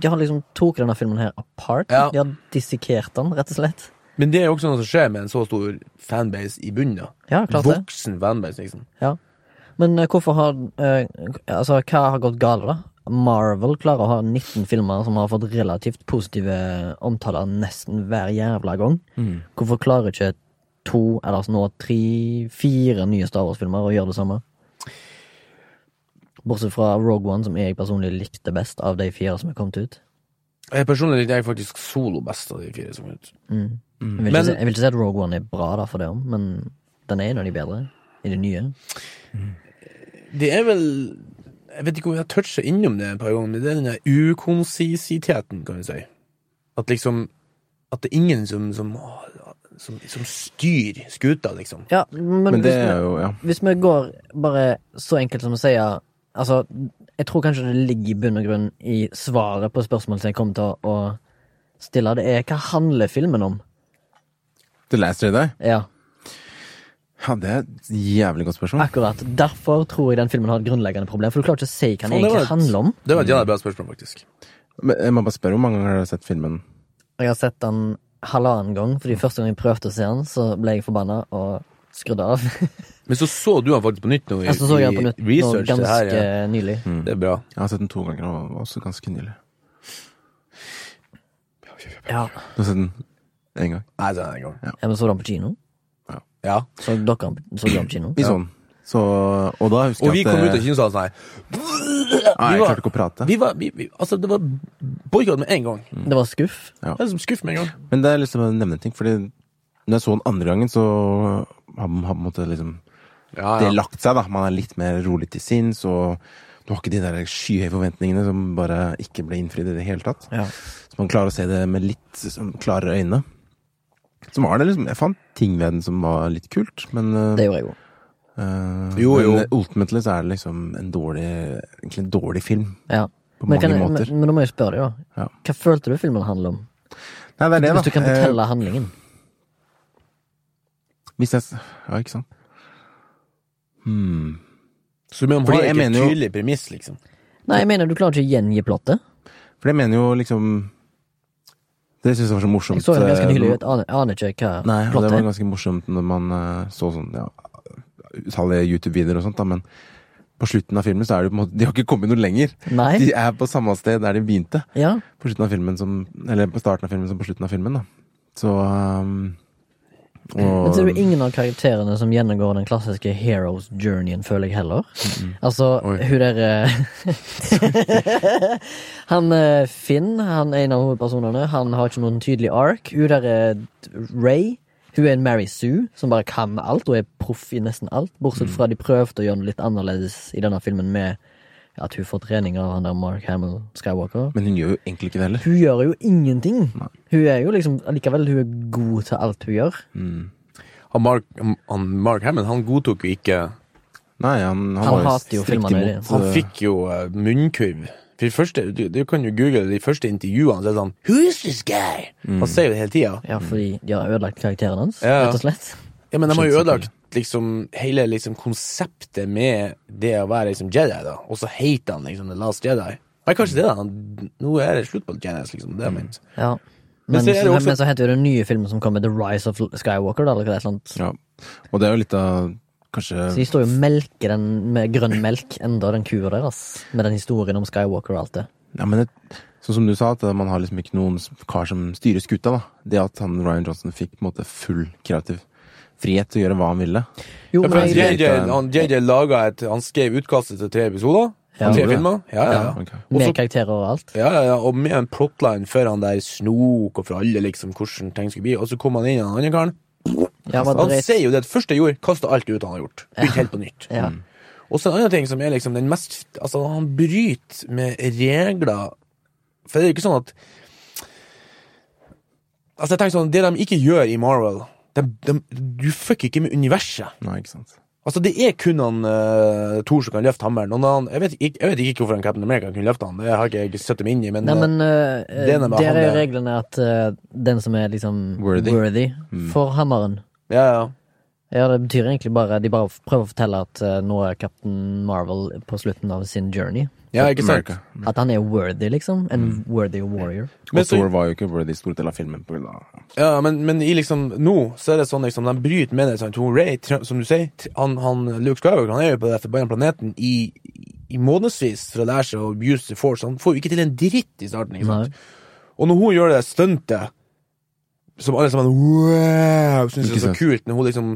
B: de har liksom tok denne filmen her apart.
A: Ja.
B: De har dissekert den, rett og slett.
A: Men det er jo også noe som skjer med en så stor fanbase i bunnen. da.
B: Ja, klart det.
A: Voksen fanbase, liksom.
B: Ja. Men eh, hvorfor har eh, Altså, hva har gått galt, da? Marvel klarer å ha 19 filmer som har fått relativt positive omtaler nesten hver jævla gang. Hvorfor klarer ikke to, eller altså nå tre, fire nye Star Wars-filmer å gjøre det samme? Bortsett fra Rogue One, som jeg personlig likte best av de fire som er kommet ut.
A: Jeg personlig likte jeg faktisk solo best av de fire som kom ut.
B: Mm. Jeg, vil
A: Men-
B: ikke si, jeg vil ikke si at Rogue One er bra da for det om, men den er en av de bedre i det nye.
A: Det er vel Jeg vet ikke om jeg har toucha innom det et par ganger, men det er den der ukonsisiteten, kan vi si. At liksom At det er ingen som som, som, som styrer skuta, liksom.
B: Ja, men,
C: Men det
B: hvis vi-
C: er jo Ja.
B: Hvis vi går bare så enkelt som å si ja, Altså, jeg tror kanskje det ligger i bunn og grunn i svaret på spørsmålet som jeg kommer til å å stille. Det er hva handler filmen om?
C: The Last Jedi?
B: Ja,
C: Ja, det er et jævlig godt spørsmål.
B: akkurat. Derfor tror jeg den filmen har et grunnleggende problem, for du klarer ikke å si hva den
A: Faen, det var
B: egentlig
A: et-
B: handler om.
A: Det var et jævla bra spørsmål, faktisk.
C: Men jeg må bare spørre hvor mange ganger har du sett filmen?
B: Jeg har sett den halvannen gang, fordi første gang jeg prøvde å se den, så ble jeg forbanna og skrudde av.
A: Men så så du han faktisk på nytt nå i,
B: Jeg så så jeg den på
A: i
B: nytt nå
A: research.
B: ganske
A: det, her,
B: nylig.
A: ja. Mm. det er bra.
C: Jeg har sett den to ganger, og var også ganske nylig.
B: Ja.
C: Du har sett den én gang?
A: Nei, det er en gang.
B: ja, men så du den på kino?
A: Ja.
B: Så dere så dere den på kino?
C: Vi så den. sånn. Så, og da husker
A: Og vi
C: jeg at
A: kom ut av
C: eh,
A: kinosalen sånn her.
C: Nei,
A: vi
C: jeg
A: var-
C: klarte ikke å prate.
A: Vi var, vi, vi, altså, det var boikott med en gang.
B: Det var skuff.
A: Det er som skuff med en gang.
C: Men det er liksom å nevne en ting, fordi når jeg så den andre gangen, så har man har på en måte liksom
A: Ja,
C: Det lagt seg, da. Man er litt mer rolig til sinns, og du har ikke de der skyhøye forventningene som bare ikke ble innfridd i det hele tatt.
B: Ja.
C: Så man klarer å se det med litt sånn klarere øyne. Så var det liksom Jeg fant ting ved den som var litt kult, men eh,
B: Det gjorde jeg jo.
C: eh,
A: Jo, jo.
C: Men ultimately så er det liksom en dårlig Egentlig en dårlig film.
B: Ja.
C: På
B: Men,
C: mange
B: kan, jeg-
C: måter.
B: men, men nå må jeg spørre deg, da.
C: Ja.
B: Hva følte du filmen handler om?
C: Nei, det er det, da.
B: Hvis du kan
C: Eh,
B: fortelle handlingen.
C: hvis jeg s- Ja, ikke sant. Hmm.
A: Så men, man
C: Fordi
A: har
C: jeg
A: ikke et
C: mener jo-
A: tydelig premiss, liksom.
B: Nei, jeg mener du klarer ikke å gjengi plottet.
C: For jeg mener jo liksom Det syns jeg var så morsomt.
B: Jeg så den ganske
C: eh,
B: nylig, jeg aner, aner ikke hva
C: Nei, og det
B: plottet
C: var
B: er.
C: ganske morsomt når man eh, så sånn ja, utallige YouTube-videoer og sånt, da, men på slutten av filmen så er det jo på en måte De har ikke kommet noe lenger.
B: Nei?
C: De er på samme sted der de begynte.
B: Ja.
C: På slutten av filmen som Eller på starten av filmen som på slutten av filmen, da. Så um,
B: Men
C: og,
B: ser du ingen av karakterene som gjennomgår den klassiske heroes journeyen, føler jeg heller. Altså,
C: Oi.
B: hun der eh, Han eh, Finn, han er en av hovedpersonene, han har ikke noen tydelig ark. Hun der er Ray. Hun er en Mary Sue som bare kan alt, og er proff i nesten alt, bortsett
C: Mm.
B: fra de prøvde å gjøre noe litt annerledes i denne filmen med at hun får trening av han der Mark Hamill Skywalker.
C: Men hun gjør jo egentlig ikke det heller.
B: Hun gjør jo ingenting. Hun er jo liksom Likevel, hun er god til alt hun gjør.
A: Han Mark, han Mark Hammond han godtok jo ikke
C: Nei, han, han,
B: Han
C: var jo
B: hater jo
C: strikt
B: filmene i det.
C: imot,
A: Han
C: eh,
A: fikk jo eh, munnkurv. For de første, du, du kan jo google de første intervjuene, så er det sånn Who's this guy? Han sier jo det hele tida.
B: Ja, fordi de har ødelagt karakteren hans,
A: Mm. Ja, ja.
B: rett og slett.
A: Ja, men de har jo
C: Skjønt,
A: ødelagt liksom, hele liksom, konseptet med det å være liksom, Jedi, da. Og så hater han liksom The Last Jedi. Nei, kanskje det, da. Han, nå er det slutt på Jedi's, liksom. Det er ment.
B: Ja.
A: Men
B: Men,
A: så
B: så
A: er det også-
B: men så heter jo den nye filmen som kommer The Rise of Skywalker, da, eller hva det er. Sånt.
C: Ja. Og det er jo litt av kanskje
B: Så de står jo og melker den med grønn melk enda, den kua deres. Med den historien om Skywalker og alt det.
C: Ja, men det, sånn som du sa, at man har liksom ikke noen kar som styrer skuta, da. Det at han Ryan Johnson fikk på en måte full kreativ frihet til å gjøre hva han ville.
B: Jo,
A: Ja,
B: men
A: for
C: det er
A: JJ,
C: greit, da.
A: han, JJ laga et Han skrev utkastet til tre episoder.
B: Ja.
A: tre
C: Ja.
A: filmer. Ja, ja, ja.
C: Ok.
A: Og
B: med
A: så-
B: karakterer og alt.
A: Ja, ja, ja, og med en plotline for han der Snok og for alle, liksom, hvordan ting skulle bli. Og så kom han inn i den andre karen.
B: Ja, hva
A: Han
B: dreit.
A: sier jo det at første jeg gjorde, kasta alt ut han har gjort. Begynte helt på nytt.
B: Ja.
A: Og så en annen ting som er liksom den mest Altså, han bryter med regler For det er jo ikke sånn at Altså, jeg tenker sånn Det de ikke gjør i Marvel de, de, Du fucker ikke med universet.
C: Nei, ikke sant.
A: Altså, det er kun han uh, Thor som kan løfte hammeren. Og han, jeg, vet ikke, jeg vet ikke hvorfor han Captain America kunne løfte han. Det har ikke jeg satt dem inn i, men,
B: Nei, men eh,
A: det er noe med
B: der er jo
A: han der.
B: reglene at eh, den som er liksom
C: Worthy.
B: worthy,
A: Mm.
B: får hammeren.
A: eh, ja, ja.
B: Ja, det betyr egentlig bare De bare prøver å fortelle at eh, nå er Captain Marvel på slutten av sin journey.
A: ja, ikke sant?
C: America.
B: At han er worthy, liksom. En
A: Mm.
B: worthy warrior.
A: Men
C: Og
A: så-
C: Thor var jo ikke worthy i store deler av filmen på grunn av
A: Ja, men, men i liksom, nå så er det sånn liksom, de bryter med det. Sånn, Tom Ray, tr- som du sier, tr- han, han, Luke Skywalker han er jo på den forbanna planeten i, i månedsvis for å lære seg å use the force. Han får jo ikke til en dritt i starten. ikke sant? Og når hun gjør det stuntet som alle sammen wow, syns
C: Ikke
A: er så
C: sant.
A: kult, når hun liksom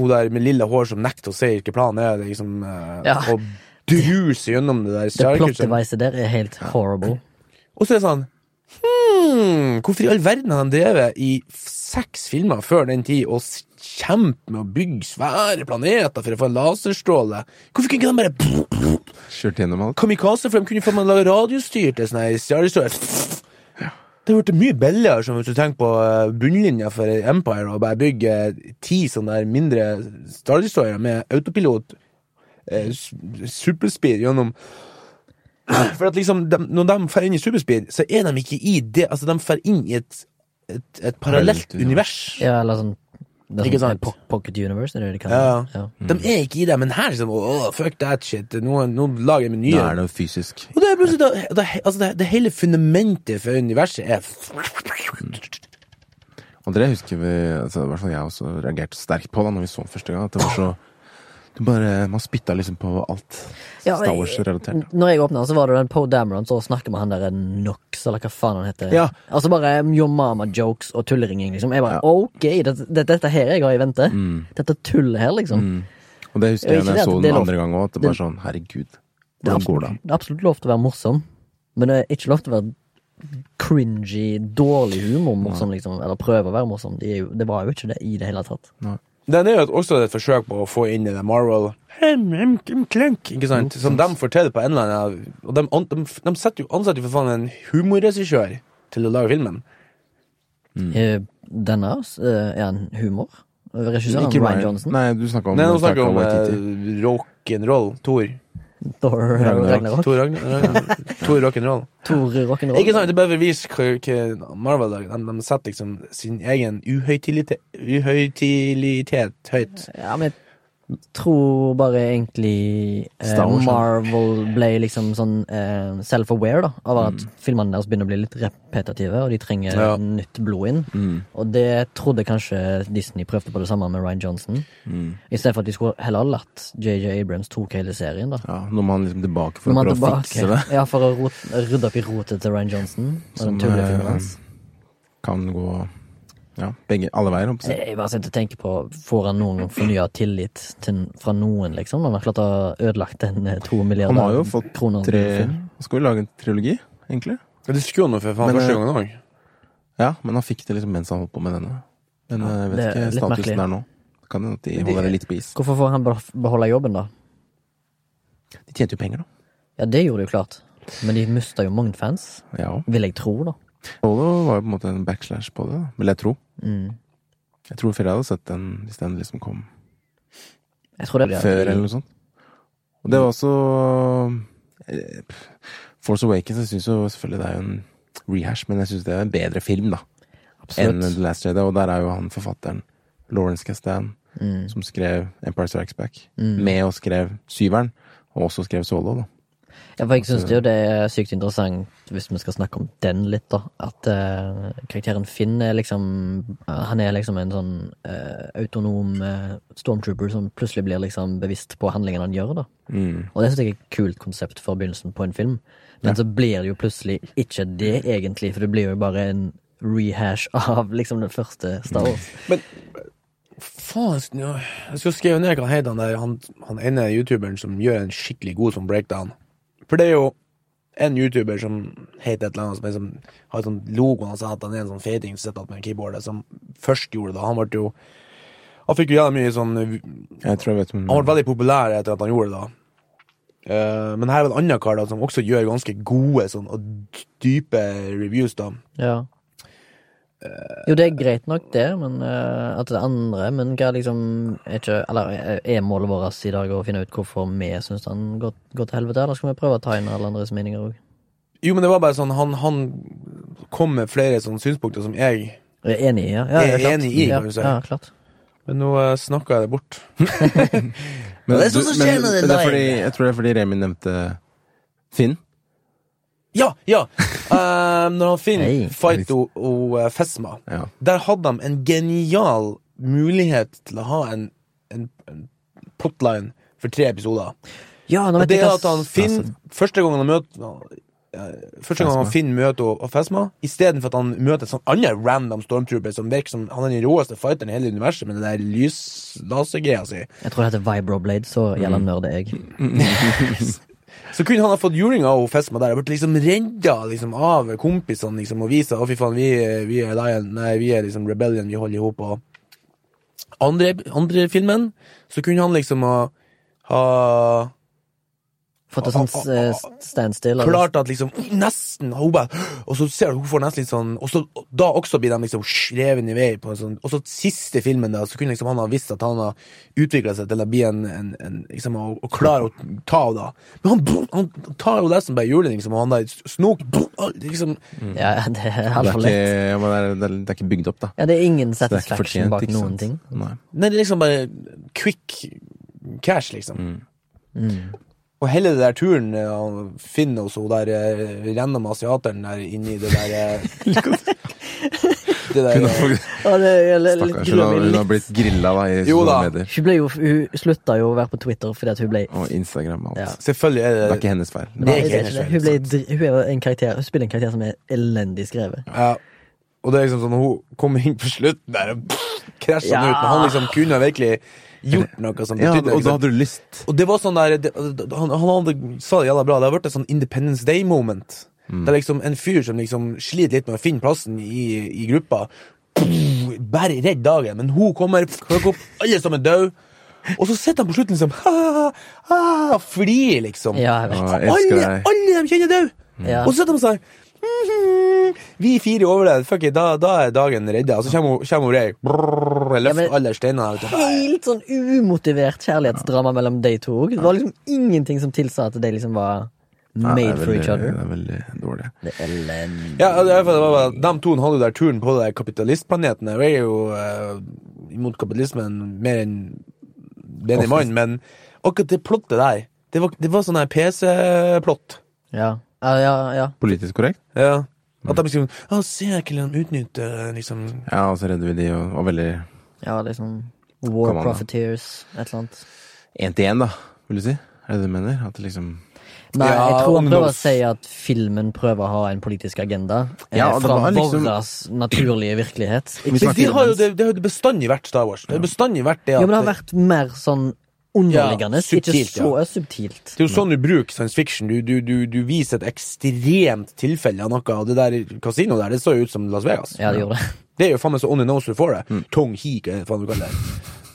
A: hun der med lilla hår som nekter å si hvilken plan er det liksom, eh,
B: Ja.
A: og druser gjennom det der.
B: Det
A: stjernekrysset.
B: plot-devicet der er helt horrible.
A: Og så er det sånn hmm, Hvorfor i all verden har han drevet i f- seks filmer før den tid og s- kjempet med å bygge svære planeter for å få en laserstråle? Hvorfor kunne ikke de bare
C: Kjørt gjennom alt.
A: Kamikaze, for de kunne faen meg lage radiostyrt sånn her stjernestrøk. Det hadde vært mye billigere som hvis du tenker på eh, bunnlinja for Empire og bare bygge eh, ti sånne der mindre Star Destroyere med autopilot eh, su- superspeed gjennom For at liksom, de, når de fer inn i superspeed, så er de ikke i det Altså, de fer inn i et, et, et parallelt
C: Parallelt
A: univers.
B: Ja, eller sånn det er
A: Ikke
B: sånn
A: sant?
B: po- Pocket Universe, er det det de
A: Ja,
B: kaller det? Ja.
A: De er ikke i det, men her liksom Åh, fuck that shit. Nå, nå lager jeg
C: Nå
A: menyer.
C: er det jo fysisk.
A: Og det er plutselig da, da, altså det, det hele fundamentet for universet er
C: Og det husker vi, altså, i hvert fall jeg også reagerte sterkt på da når vi så den første gang. At det var så du bare, Man spytta liksom på alt
B: Ja,
C: Star Wars-relatert.
B: N- Når jeg åpna, så var det den Poe Dameron som snakker med han der Knox, eller hva faen han heter.
A: Ja.
B: Altså bare um, Your Mama-jokes og tulleringing, liksom. Jeg bare ok, dette, dette, dette her jeg har i vente. Dette tullet her, liksom.
C: Og det
B: Ja,
C: husker jeg
B: ikke
C: når jeg
B: det, det
C: så
B: er
C: den
B: lov.
C: andre gang òg. At det bare sånn Herregud,
B: Det er
C: hvordan går
B: absolutt,
C: det an?
B: det er absolutt lov til å være morsom, men det er ikke lov til å være cringy, dårlig humor morsom, liksom. Eller prøve å være morsom. Det, er jo, det var jo ikke det i det hele tatt.
A: Den er jo et- også et forsøk på å få inn i det Marvel Hem, hem, hem, klunk, Ikke sant? Som de forteller på en eller annen Og de, an, de, de setter jo, ansetter jo for faen en humorregissør til å lage filmen.
B: Eh, Denne, eh, er en humor? Regissøren
C: Ikke
B: Ryan Johnson?
C: Nei, du snakka om
A: Nei, nå snakker vi om
C: Taika Waititi.
A: eh, rock'n'roll. Thor.
B: Thor
C: Ragnarok.
B: Ragnarok?
A: Thor, Ragn- Ragn- Thor rock'n'roll.
B: Thor Rock'n'Roll?
A: Ikke sant, det er bare for å vise hva- hva Marvel lager. De, de setter liksom sin egen uhøytilitet, uhøytilitet høyt.
B: Ja, men jeg tror bare egentlig eh,
C: Star Wars, ja.
B: Marvel ble liksom sånn eh, self-aware da av at filmene deres begynner å bli litt repetitive, og de trenger
A: Mm. Ja. Mm.
B: nytt blod inn. Og det trodde kanskje Disney prøvde på det samme med Ryan Johnson.
A: Mm.
B: I stedet for at de skulle heller ha latt JJ Abrams tok hele serien, da.
C: Ja, Nå må han liksom tilbake
B: Nå
C: for å
B: må han
C: prøve å
B: tilbake.
C: fikse det.
B: Ja, for å rot, rydde opp i rotet til Ryan Johnson. Og
C: Som,
B: den tullefilmen
C: eh,
B: hans.
C: Kan gå ja, begge, alle veier, håper jeg.
B: Jeg bare sitter og tenker på Får han noen gang fornya tillit til, fra noen, liksom? Han har klart å ha ødelagt en eh, to milliarder
C: Han har jo fått
B: kroner
C: tre
B: film.
C: Han skulle jo lage en trilogi, egentlig.
A: Ja, Det skulle han jo for faen
C: Men,
A: første
C: eh,
A: gangen òg.
C: Ja, men han fikk det liksom mens han holdt på med denne. Men eh, jeg vet
B: det er
C: ikke
B: litt merkelig.
C: statusen er nå. Kan hende at de holder det litt på is.
B: Hvorfor får han beh- beholde jobben, da?
C: De tjente jo penger, da.
B: Ja, det gjorde de jo klart. Men de mista jo mange fans,
C: Ja.
B: vil jeg tro, da.
C: Solo var jo på en måte en backslash på det, da. vil jeg tro. Mm. Jeg tror flere hadde sett den hvis den liksom kom
B: Jeg tror det blir
C: før, eller noe sånt. Og det var også eh, Force Awakens, jeg syns jo selvfølgelig det er jo en rehash, men jeg syns det er en bedre film, da, enn
B: Absolutt.
C: The Last Jedi, og der er jo han forfatteren, Lawrence Castan, som skrev Empire Strikes Back, med og skrev Syveren, og også skrev Solo, da.
B: Ja, for jeg syns jo det er sykt interessant, hvis vi skal snakke om den litt, da, at eh, karakteren Finn er liksom Han er liksom en sånn eh, autonom eh, stormtrooper som plutselig blir liksom bevisst på handlingen han gjør, da. Og det syns jeg er et kult konsept for begynnelsen på en film. Men så blir det jo plutselig ikke det, egentlig, for det blir jo bare en rehash av liksom den første Star Wars.
A: Men faen, jeg skulle- jeg skulle skrive ned hva han heter, han der han, han ene youtuberen som gjør en skikkelig god sånn breakdown. For det er jo en youtuber som heter et eller annet som er som, har sånn logoen hans, at han er en sånn feiting som sitter med keyboardet, som først gjorde det. Han ble jo Han fikk jo jævlig mye sånn
C: Jeg tror jeg vet hvem
A: Han ble veldig populær etter at han gjorde det. da Eh, Men her er en annen kar da som også gjør ganske gode sånn, og dype reviews. da
B: Ja. Jo, det er greit nok, det, men eh, at det andre Men hva liksom er ikke Eller eh, er målet vårt i dag å finne ut hvorfor vi syns han går, går til helvete, eller skal vi prøve å ta inn alle andres meninger òg?
A: Jo, men det var bare sånn Han, han kom med flere sånne synspunkter som jeg
B: Enig i, ja. ja
A: Jeg er
B: klart.
A: enig i,
B: ja,
A: kan du si.
B: Ja, klart.
A: Men nå uh, snakka jeg det bort.
C: Men,
B: Det er sånn som
C: du- men-
B: skjer når det
C: men det er
B: drar inn.
C: fordi, Jeg tror det er fordi Remi nevnte Finn.
A: Ja, ja! Eh, når han finner
B: Hei.
A: Fight og, og eh, Fesma,
C: Ja.
A: der hadde de en genial mulighet til å ha en, en, en plotline for tre episoder.
B: Ja, nå
A: Og
B: vet
A: det
B: jeg
A: er
B: hva altså,
A: at han Finn, første gangen han møter eh, Første gang han
C: Phasma.
A: Finn møter og- og Phasma, istedenfor at han møter en sånn annen random stormtrooper som virker som han er den råeste fighteren i hele universet med den der lyslasergreia si,
B: Jeg tror det heter Vibroblade, så
A: Mm.
B: gjelder nørde jeg.
A: så kunne han ha fått juling av å Phasma der og blitt liksom redda liksom, av kompisene liksom, og vise at fy faen, vi, vi er Lion, nei, vi er liksom Rebellion, vi holder i hop. og Andre, andre filmen, så kunne han liksom ha, ha
B: Fått et sånt eh, standstill. eller-
A: klart at liksom Nesten! Og hun bare Og så ser du hun får nesten litt sånn Og så og da også blir de liksom skreven i vei på en sånn Og så siste filmen, da, så kunne liksom han ha visst at han har utvikla seg til å bli en, en, en liksom, og, og klare å ta henne, da. Men han, han tar jo nesten bare juling, liksom, og han der Snook liksom,
B: Ja, ja, det er
C: Det er,
B: altfor
C: ikke,
B: lett.
C: ja, men det, er, det, er, det er ikke bygd opp, da.
B: Ja, det er ingen
C: Så det er ikke
B: satisfaction bak
C: ikke sant?
B: noen ting.
C: Nei.
A: Nei, det er liksom bare quick cash, liksom. Mm. Og hele det der turen eh, han Finn hos hun der eh, random asiateren der inni det der eh, Det der
C: Hun
A: eh,
C: har,
B: Ja, det er litt
C: stakkars, hun
B: gruer
C: har,
B: meg
C: hun har
B: litt.
C: blitt grilla da, i
A: Jo da.
C: sosiale medier.
B: Hun, ble jo, hun slutta jo å være på Twitter fordi at hun ble
C: Og Instagram og alt.
B: Ja.
A: Selvfølgelig er det
C: Det er ikke hennes feil.
A: Det
B: Nei,
A: er ikke
B: det er
A: hennes
B: ikke det.
A: feil,
B: Hun, ble, dri- hun, er en karakter, hun spiller en karakter som er elendig skrevet.
A: ja. Og det er liksom sånn når hun kommer inn på slutten der og krasjer
B: Ja.
A: han ut, og han liksom kunne ha virkelig gjort noe som
C: Ja,
A: betydde noe.
C: og
A: liksom.
C: da hadde du lyst.
A: Og det var sånn der det, han, han hadde, sa det jævla bra, det har vært et sånn Independence Day-moment. Det er liksom en fyr som liksom sliter litt med å finne plassen i, i gruppa. Bare redd dagen, men hun kommer, plukker opp alle som er døde. Og så sitter han på slutten liksom ha, ha, ha, Flirer, liksom.
B: Ja, jeg vet.
C: Ja, jeg elsker
A: alle,
C: deg.
A: alle de kjenner er døde!
B: Ja.
A: Og så sitter han sånn «Mhm, Vi fire over det, fuck it, da, da er dagen redda. Og så kommer hun- kommer hun rei. Brrr,
B: Ja, men-
A: Løfter alle steinene. vet du.
B: Helt sånn umotivert kjærlighetsdrama mellom de to. Det var liksom ingenting som tilsa at de liksom var
C: Ja,
B: made
C: det er
B: for
C: veldig-
B: each other.
C: Det er veldig dårlig.
B: Det er elendig.
A: Ja, det er i hvert fall- det var bare, at De to hadde jo der turen på den kapitalistplaneten. Jeg er jo eh, imot kapitalismen mer enn den i mann, men akkurat det plottet der Det var, det var sånn her PC-plott.
B: Ja, ja, ja. ja.
C: Politisk korrekt?
A: Ja. At de liksom Å, se hvordan de utnytter eh, liksom
C: Ja, og så redder vi de, og var veldig
B: ja liksom War
C: Come on, da.
B: Profiteers, et eller annet.
C: én til én, da, vil du si? Er det det du mener? At det liksom
B: Nei,
A: Ja,
B: jeg tror han prøver å
A: ungdoms-
B: si at filmen prøver å ha en politisk agenda. eh,
C: Ja, og det
B: fra
C: var liksom-
B: våras naturlige virkelighet.
C: Vi
A: Men
C: snakker-
A: de har jo det, det har jo bestandig vært Star Wars. Det har bestandig vært det
B: Jo,
A: at
B: men det har vært mer sånn underliggende,
A: Ja, subtilt,
B: ikke så subtilt.
A: Det er jo sånn du bruker science fiction. Du, du, du, du viser et ekstremt tilfelle av noe. Og det der kasinoet der, det så jo ut som Las Vegas.
B: Ja, det gjorde det.
A: Det er jo faen meg så on the nose du får det. Tong hi, hva faen du kaller det.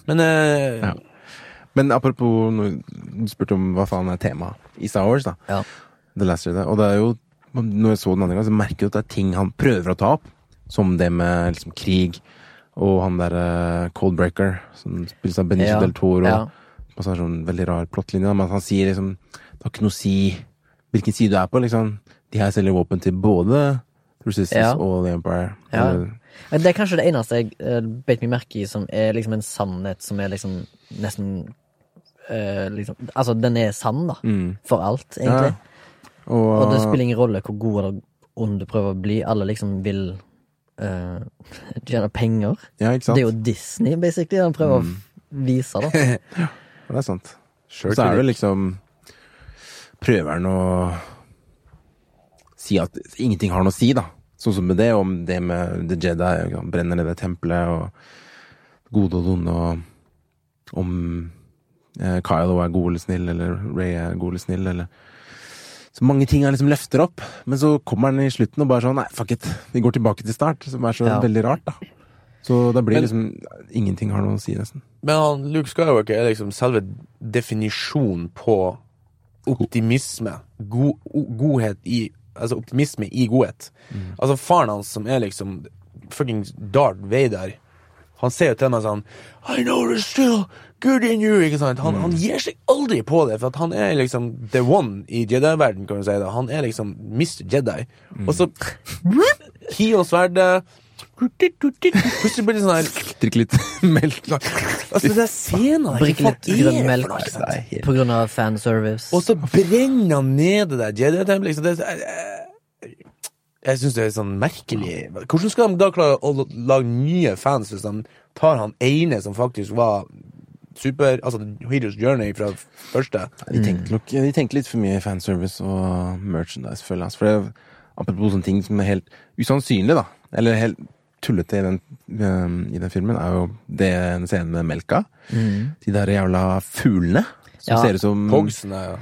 A: Men eh,
C: Ja. Men apropos noe- Du spurte om hva faen er temaet i Star Wars, da.
B: Ja.
C: The Last Jedi. Og det er jo Når jeg så den andre gang, så merker jeg at det er ting han prøver å ta opp. Som det med liksom krig, og han derre Coldbreaker, som spilles av Benicio
B: Ja,
C: del Toro.
B: ja.
C: Og så er det sånn veldig rar plottlinje, da, men at han sier liksom Det har ikke noe å si hvilken side du er på, liksom. De her selger våpen til både Resistance
B: Ja.
C: og The Empire.
B: Ja.
C: Eller-
B: Men Det er kanskje det eneste jeg eh, beit meg merke i som er liksom en sannhet som er liksom nesten eh, liksom, Altså, den er sann, da.
C: Mm.
B: For alt, egentlig.
C: Og,
B: Og det spiller ingen rolle hvor god eller ond du prøver å bli. Alle liksom vil eh, tjene penger.
C: ja, ikke sant? Mm.
B: Det er jo Disney, basically, han prøver å vise, da.
C: Ja, det er sant.
A: Sure
C: så
A: to
C: er det liksom Prøver han å si at ingenting har noe å si, da. Sånn som med det, om det med The Jedi, og han brenner ned det tempelet, og gode og onde, og om eh, Kylo er god eller snill, eller Ray er god eller snill, eller Så mange ting han liksom løfter opp, men så kommer han i slutten og bare sånn Nei, fuck it, vi går tilbake til start, som er så
B: Ja.
C: veldig rart, da. Så da blir
A: Men-
C: liksom Ingenting har noe å si, nesten.
A: Men han, Luke Skywalker er liksom selve definisjonen på optimisme. God, o- godhet i Altså optimisme i godhet. Altså faren hans, som er liksom fucking Darth Vader, han ser jo til meg sånn I know there's still good in you. Ikke sant? Han, han gir seg aldri på det, for at han er liksom the one i Jedi-verden, kan du si. det Han er liksom Mr. Jedi. Og så Hi og sverdet Plutselig blir det sånn her
C: Drikk litt melk. da.
A: Altså, det er scenen
B: Brikk litt grønn melk altså.
C: Det er helt
B: på grunn av fanservice.
A: Og så brenner han ned det der Jedi-tempelet. Liksom. Det er- eh, Jeg syns det er sånn merkelig Hvordan skal de da klare å lage nye fans hvis de tar han ene som faktisk var super, altså Heroes Journey fra første.
B: Mm.
C: De tenkte, nok, de tenkte litt for mye fanservice og merchandise, føler jeg. altså. For det, apropos sånne ting som er helt usannsynlig, da. Eller helt tullete i den, eh, i den filmen, er jo det, den scenen med melka. De der jævla fuglene
B: Mm.
C: som
B: Ja.
C: ser ut som
A: Pogsene, ja.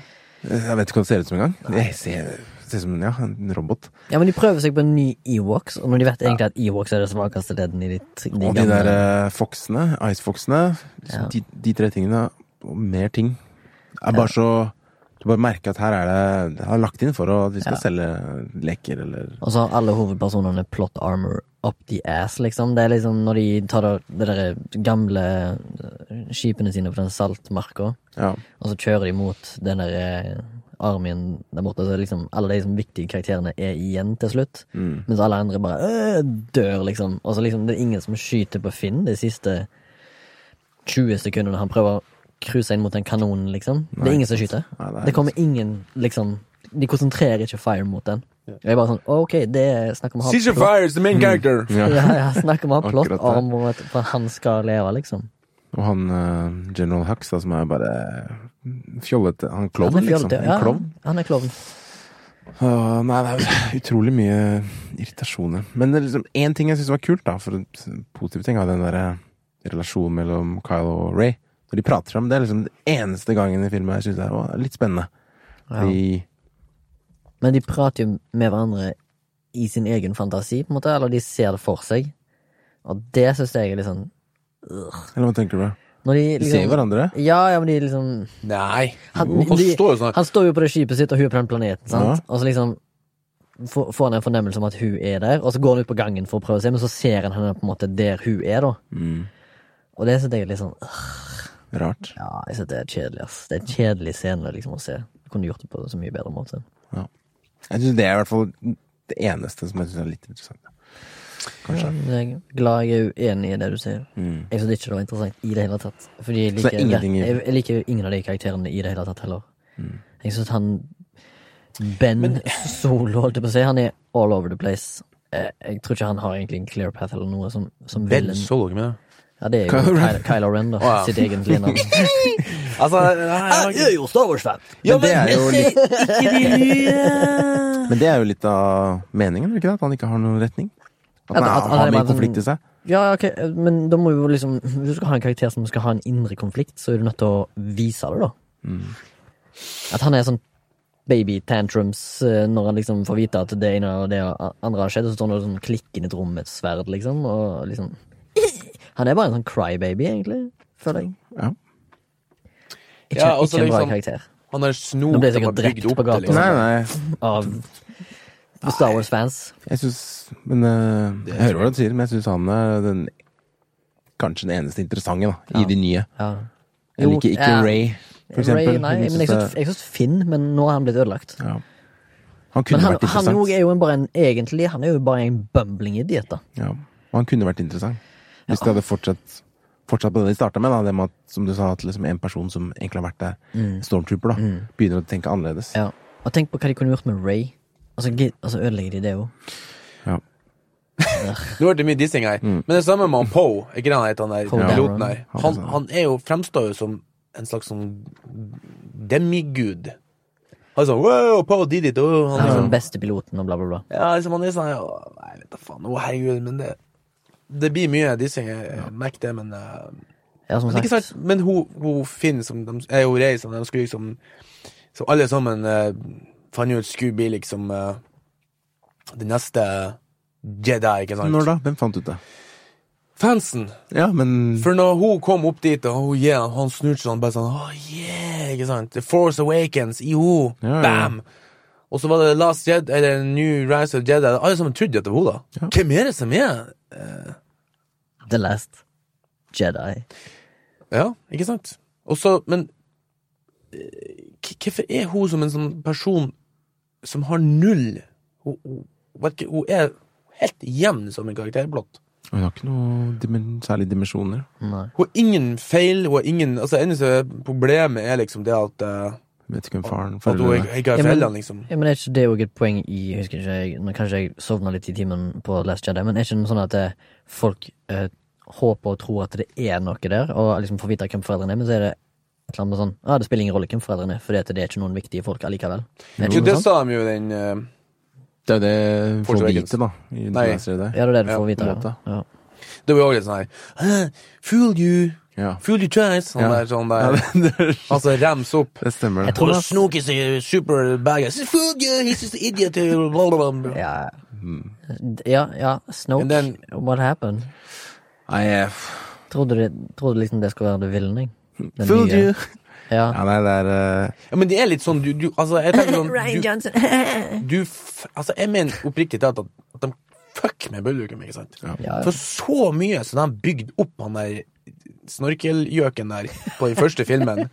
C: Jeg vet ikke hva det ser ut som engang. Det ser ser ut som en- ja, en robot.
B: Ja, men de prøver seg på en ny Ewoks, og når de vet egentlig at Ewoks er det svakeste ledden i de, de
C: Og de
B: gamle-
C: der eh, foksene, icefoksene,
B: Ja.
C: de, de tre tingene, og mer ting, er bare så Du bare merker at her er det Det er lagt inn for at vi skal selge leker eller
B: Og så har alle hovedpersonene plot armor up the ass, liksom. Det er liksom når de tar det, det der gamle eh, skipene sine på den saltmarka,
C: Ja.
B: og så kjører de mot den der eh, armyen der borte, så er det liksom alle de liksom viktige karakterene er igjen til slutt.
C: Mm.
B: Mens alle andre bare øh, dør, liksom. Og så liksom, det er ingen som skyter på Finn de siste 20 sekundene han prøver å cruise inn mot den kanonen, liksom. det er ingen som skyter.
C: Nei, det
B: det,
C: er
B: kommer ingen, liksom De konsentrerer ikke fire mot den. Og jeg er bare sånn, ok, det er snakk om å ha
A: Season
B: plot-
A: Fire is the main character!
C: ja.
B: ja, ja, snakk om å ha plott
C: Akkurat det.
B: arm og at for han skal leve, liksom.
C: Og han eh, General Hux, da, som er bare fjollete Han er klovn,
B: Han er
C: liksom.
B: fjollete,
C: En
B: ja,
C: klovn.
B: han er klovn.
C: Åh, nei, det er jo utrolig mye irritasjoner. Men det er liksom én ting jeg syns var kult, da, for en positiv ting, var den derre relasjonen mellom Kyle og Ray. Når de prater sammen, det er liksom den eneste gangen i filmen jeg syns det var litt spennende.
B: Ja.
C: De,
B: Men de prater jo med hverandre i sin egen fantasi, på en måte, eller de ser det for seg. Og det syns jeg er litt sånn øh.
C: eller hva tenker du?
B: Når de
C: De ser jo
B: liksom
C: hverandre.
B: Ja, ja, men de liksom
A: Nei.
B: Han-
A: Jo, han
B: de-
A: står jo sånn her.
B: Han står jo på det skipet sitt, og hun er på den planeten, sant?
C: Ja.
B: Og så liksom får får han en fornemmelse om at hun er der, og så går han ut på gangen for å prøve seg, men så ser han henne på en måte der hun er, da.
C: Mm,
B: Og det syns jeg er litt sånn øh,
C: rart.
B: Ja, jeg synes det er kjedelig, ass. Det er en kjedelig scene liksom å se. Du kunne gjort det på en så mye bedre måte.
C: Jeg syns det er i hvert fall det eneste som jeg syns er litt interessant. Kanskje.
B: Men Mm, Jeg er glad jeg er uenig i det du sier.
C: Mm.
B: Jeg synes ikke det var interessant i det hele tatt. Fordi jeg
C: Så det
B: liker,
C: er ingenting i- Mm.
B: jeg, jeg liker jo ingen av de karakterene i det hele tatt heller. Jeg synes han Ben Solo, holdt jeg på å si, han er all over the place. Eh, Jeg tror ikke han har egentlig en clear path eller noe som, som
A: Ben
B: villain.
A: Solo, ikke med det?
B: Ja, det er jo
C: Kylo Ren.
B: Kylo, Kylo Ren, da.
A: ja.
B: Sitt egentlige navn.
A: Altså, nei,
B: Jeg er jo Star Wars-fan!
A: ja,
C: Men det er jo litt,
A: ikke de nye
C: men det er jo litt av meningen, er det ikke det? At han ikke har noen retning? At
B: At- at
C: han, er,
B: han er
C: har
B: bare
C: en
B: sånn-
C: konflikt i seg?
B: Ja, ok, men da må jo liksom Hvis du skal ha en karakter som skal ha en indre konflikt, så er du nødt til å vise det, da.
C: Mm.
B: At han er sånn baby tantrums eh, når han liksom får vite at det ene og det andre har skjedd, og så står han og sånn klikker inn i et rom med et sverd, liksom, og liksom Han er bare en sånn crybaby, egentlig, føler jeg.
C: Ja.
B: Ikke,
A: Ja, også
B: ikke en bra
A: liksom-
B: karakter.
A: Han har snok
B: Nå ble jeg
A: som
B: sikkert
A: har bygd
B: drept
A: opp
B: på gata.
A: det, liksom.
C: Nei, nei.
B: Av Star Wars-fans.
C: Jeg syns Men eh, jeg hører hva du sier, men jeg syns han er den kanskje den eneste interessante da, i
B: Ja.
C: de nye.
B: Ja.
C: Jeg
B: Jo,
C: liker ikke
B: ja.
C: Ray, for eksempel.
B: Ray, nei,
C: Jeg
B: men liksom- jeg
C: synes
B: syns jeg syns Finn, men nå har han blitt ødelagt.
C: det- ja. Han kunne
B: Men han,
C: vært
B: han
C: interessant.
B: også er jo en- bare en, egentlig Han er jo bare en bumbling idiot, da.
C: ja. Han kunne vært interessant. Hvis de hadde fortsatt Fortsatt på det de starta med, da, det med at, som du sa, at liksom en person som egentlig har vært der, stormtrooper, da, begynner å tenke annerledes.
B: Mm. Ja. Og tenk på hva de kunne gjort med Ray. Og så gi- og så ødelegger de det jo.
C: Ja.
A: Nå ble det mye dissing her. Men det samme med han Poe. Er ikke det han heter, han der
B: Poe
A: piloten
B: Dameron.
A: her?
C: Mm. Han er
A: Han,
C: sånn.
A: han er jo, fremstår jo som en slags sånn demigud. Han er sånn wow, Poe did it, oh, han
B: Han
A: er
B: er
A: sånn
B: den beste piloten og bla, bla, bla.
A: Ja, liksom han er sånn ja, Nei, vet da faen. Å, herregud. Men det Det blir mye dissing. Jeg jeg merker det, men eh,
B: Ja, som
A: men, ikke sant?
B: sagt.
A: men hun, hun Finn, som de, er jo rei, som de skulle liksom Som alle sammen eh, fant ut skulle bli liksom eh, den neste Jedi, ikke sant?
C: Når da? Hvem fant ut det?
A: Fansen!
C: Ja, men
A: For når hun kom opp dit, og hun, yeah, han snurte sånn, bare sånn oh, yeah, ikke sant? The Force Awakens, iho,
C: Ja, ja.
A: bam! Og så var det Last Jedi, eller New Rise of Jedi. Alle sammen trodde at det var hun, da.
C: Ja.
A: Hvem er det som er
B: The Last Jedi.
A: Ja, ikke sant? Og så, men eh, k- Hvorfor er hun som en sånn person som har null Hun, hun, vet ikke, hun er helt jevn som en karakter, blått.
C: Hun har ikke noe dimen særlig dimensjoner.
B: Nei.
A: Hun har ingen feil, hun har ingen Altså, eneste problemet er liksom det at eh,
C: Vet ikke hvem faren
A: At hun
C: foreldrene
A: ikke ikke har
B: Ja, men-
A: foreldrene, liksom.
B: Ja, men er ikke det òg et poeng i jeg husker ikke, jeg, nå Kanskje jeg sovna litt i timen på Last Jedi, men er ikke det sånn at eh, folk eh, håp og tro at det er noe der, og liksom får vite hvem foreldrene er, men så er det et eller annet sånn Ja, det spiller ingen rolle hvem foreldrene er, for det er ikke noen viktige folk allikevel. Er det
A: Jo,
B: ikke
A: det
B: noe sånt?
A: sa de jo i den eh,
C: Det er jo det
A: Force
C: får
A: Awakens.
C: vite, da. I
A: Nei.
C: den serien der.
B: Ja, det er det du
A: Ja,
B: får
C: på en
B: vite.
C: måte.
B: Ja. Ja.
A: Det var jo litt sånn her «Hæ? Fool you,
C: Ja.
A: fool you twice. Sånn
C: Ja.
A: der, sånn
C: Ja,
A: der.
C: det, det,
A: Altså rems opp.
C: det stemmer.
B: Jeg
C: det.
B: tror-
A: Tror du Snook is a super bad guy? Fool you, he's just an idiot. blah, blah, blah.
B: Ja,
C: Hmm.
B: ja, ja. Snoke,
A: And then-
B: what happened?
C: Nei, jeg-
B: Trodde du, trodde du liksom det skulle være The Vilning? Den
C: Hmm. Fooled
B: nye-
C: you.
B: Ja.
C: Ja, nei, det er eh,
A: Ja, men det er litt sånn du, du Altså, jeg tenker sånn du,
B: Johnson.
A: du f, Altså, jeg mener oppriktig talt at, at de fuck med Bøllukum, ikke sant?
B: Ja,
A: For så mye som de har bygd opp han der snorkelgjøken der på den første filmen.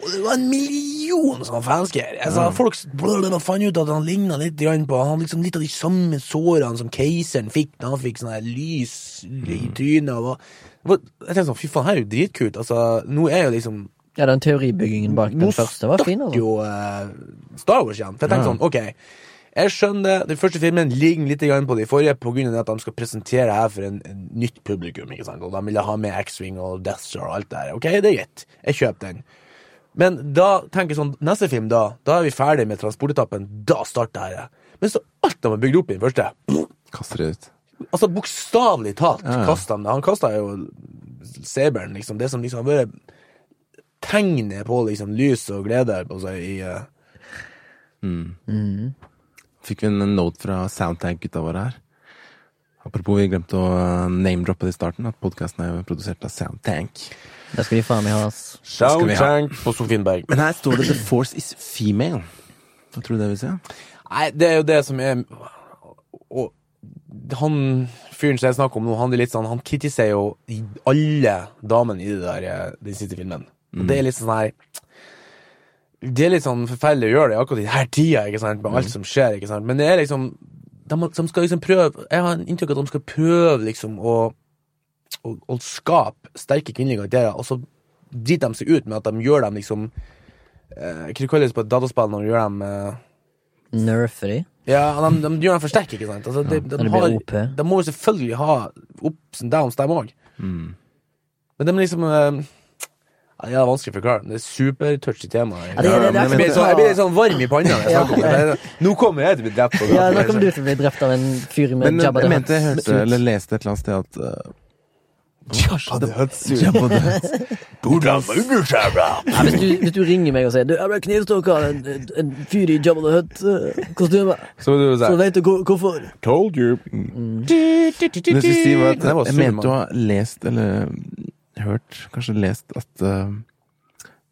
A: Og det var en million sånne fansker. Altså, Folk s- blablabla fant ut at han ligna litt grann på Han hadde liksom litt av de samme sårene som keiseren fikk da han fikk sånn her lys i
B: Mm.
A: trynet. Og, og jeg tenkte sånn, fy faen, her er jo dritkult. Altså, nå er jo liksom
B: ja, den teoribyggingen bak den første var fin,
A: stakk
B: altså.
A: jo eh, Star Wars igjen. For jeg tenkte sånn, ok, jeg skjønner det. Den første filmen ligger litt grann på de forrige på grunn av at de skal presentere her for en, en nytt publikum. ikke sant? Og de ville ha med X-Wing og Death Star og alt det der. Ok, det er greit. Jeg kjøper den. Men da tenker jeg sånn, neste film, da da er vi ferdig med transportetappen. Da starter det her. Men så alt de har bygd opp i den første
C: Kaster det ut.
A: Altså bokstavelig talt
C: Ja, ja.
A: kastet han det. Han kasta jo saberen, liksom. Det som liksom har vært tegnet på liksom lys og glede på seg i eh,
C: Fikk vi en note fra Soundtag-gutta våre her. Apropos, vi glemte å eh, name-droppe det i starten, at podkasten er jo produsert av Soundtank.
B: Det skal de faen meg ha, ass.
C: skal vi ha.
A: Soundtank på Sofienberg.
C: Men her står det 'The Force is female'. Hva tror du det vil si?
A: Nei, det er jo det som er Og han fyren som jeg snakker om nå, han er litt sånn Han kritiserer jo i- alle damene i det der, eh, den siste filmen. Og det er litt sånn her Det er litt sånn forferdelig å gjøre det akkurat i denne tida, ikke sant, med alt som skjer, ikke sant, men det er liksom de, må- de skal liksom prøve Jeg har en inntrykk av at de skal prøve liksom å å, å skape sterke kvinnelige karakterer, og så driter de seg ut med at de gjør dem liksom eh, Hva det kalles på et dataspill når de gjør dem eh,
B: Nerfe de.
A: ja, de, de gjør den for sterk, ikke sant? Altså, de, de,
B: det blir
A: har,
B: OP.
A: de må jo selvfølgelig ha ups and downs, dem òg.
C: Mm.
A: Men de er liksom eh, ja, Det er vanskelig å forklare. men Det er supertouchy tema. her.
B: det er- det er
A: Ja, men jeg,
B: derfor
A: blir
B: det
A: så, jeg
B: var-
A: blir litt sånn varm i panna. når jeg
B: Ja.
A: snakker om det. Jeg- Nå kommer jeg til å bli drept. på
B: Ja,
A: gaten,
B: nå kommer
A: liksom.
B: du til å bli drept av en fyr med
C: Men eh,
B: Jabba
C: jeg
B: the
C: mente jeg
B: Hutt.
C: hørte eller leste et eller annet sted at
A: Jabba the Hutt-suit.
C: eh, Jabba the Hutt.
A: Hvordan fungerer det, bra?
B: Ja, hvis, du, hvis du ringer meg og sier Du, jeg ble knivstukket av en, en fyr i Jabba the Hutt-kostyme,
A: Så vil du
B: så
A: si
B: vet du hvor- hvorfor.
A: Told you.
C: Men jeg skulle si var at
A: Det var
C: jeg mente å
A: Superman.
C: ha lest, eller eh, hørt, kanskje lest, at eh,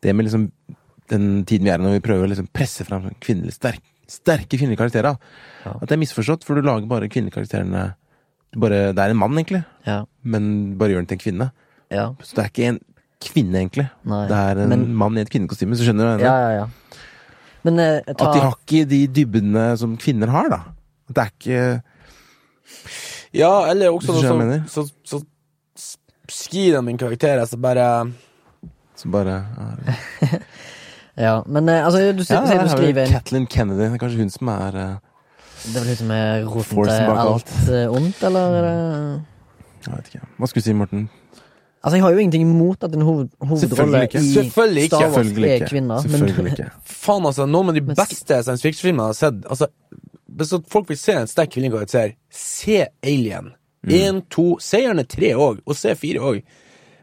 C: det med liksom den tiden vi er i når vi prøver å liksom presse fram kvinnelige, sterk, sterke kvinnelige karakterer,
B: Ja.
C: at det er misforstått, for du lager bare kvinnelige karakterene du bare, Det er en mann, egentlig,
B: Ja,
C: men bare gjør den til en kvinne.
B: ja,
C: Så det er ikke en kvinne, egentlig.
B: Nei,
C: Det er en
B: men-
C: mann i et kvinnekostyme, så skjønner du hva jeg
B: ja, ja,
C: mener.
B: ja. Men eh, ta
C: At de har ikke de dybdene som kvinner har, da. At Det er ikke
A: Ja, eller også
C: Hvis du skjønner hva
A: noe
C: jeg
A: så, så, så skriver de en karakter, altså bare
C: så bare ja.
B: Ja, men eh, altså, du, sier- sier
C: her
B: du
C: har vi
B: skriver en
C: Kathleen Kennedy. Det er kanskje hun som er eh,
B: Det er vel hun som er roten
C: Forcen
B: til
C: bak
B: alt eh, ondt, eller? er det-
C: Jeg vet ikke. Hva skulle du si, Morten?
B: Altså, jeg har jo ingenting imot at en hoved, hovedrolle
C: Selvfølgelig
B: i
C: ikke.
A: Selvfølgelig ikke.
B: Star Wars
C: Selvfølgelig
B: er
C: ikke.
B: kvinner.
C: Selvfølgelig
B: Men,
C: ikke.
A: Faen, altså, noen av de
B: Men sk-
A: beste science fiction-filmene jeg har sett altså, Hvis at folk vil se en sterk kvinnelig karakter, se Alien. Én, to, se gjerne tre òg, og se fire òg.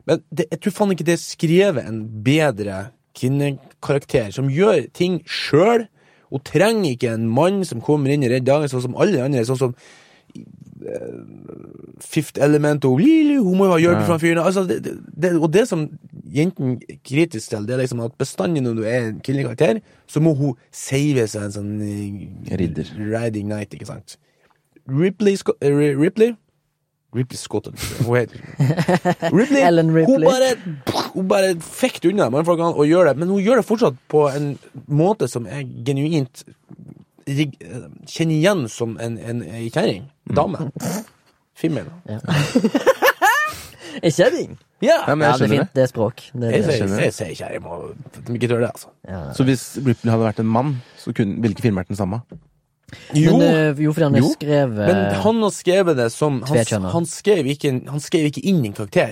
A: Men det, jeg tror faen ikke det er skrevet en bedre kvinnekarakter, som gjør ting sjøl. Hun trenger ikke en mann som kommer inn i Redd Dagen, sånn som alle andre. Sånn som eh, Fifth Element og Lili, Hun må jo ha hjelp fra fyren. Altså, det, det, det, og det som jenten er kritisk til, det er liksom at bestandig når du er en kvinnelig karakter, så må hun save seg en sånn eh,
C: Ridder.
A: Riding Night, ikke sant. Ripley, Sco eh, Ri- Ripley Ripley Scotland. Hun heter Ripley,
B: Ellen Ripley.
A: Hun bare, hun bare fikk det unna mannfolkene og gjør det, men hun gjør det fortsatt på en måte som er genuint rig- eh, kjenner igjen som en, en, en kjerring. Dame. Female.
B: Er kjerring?
A: Ja!
C: Nei, men
B: Ja, det
C: jeg
B: er
C: skjønner det.
B: fint. Det er språk.
A: Jeg
B: Det er det.
A: sier-
C: skjønner.
A: jeg sier kjerring, og de ikke tør det, altså.
B: Ja.
C: Så hvis Ripley hadde vært en mann, så kunne, ville ikke filmen vært den samme?
A: Jo,
B: Men eh, jo, fordi han er
A: Jo.
B: skrevet
A: men han har skrevet det som Han,
B: Tvekjønnet.
A: han, skrev, ikke, en- han skrev ikke inn en karakter.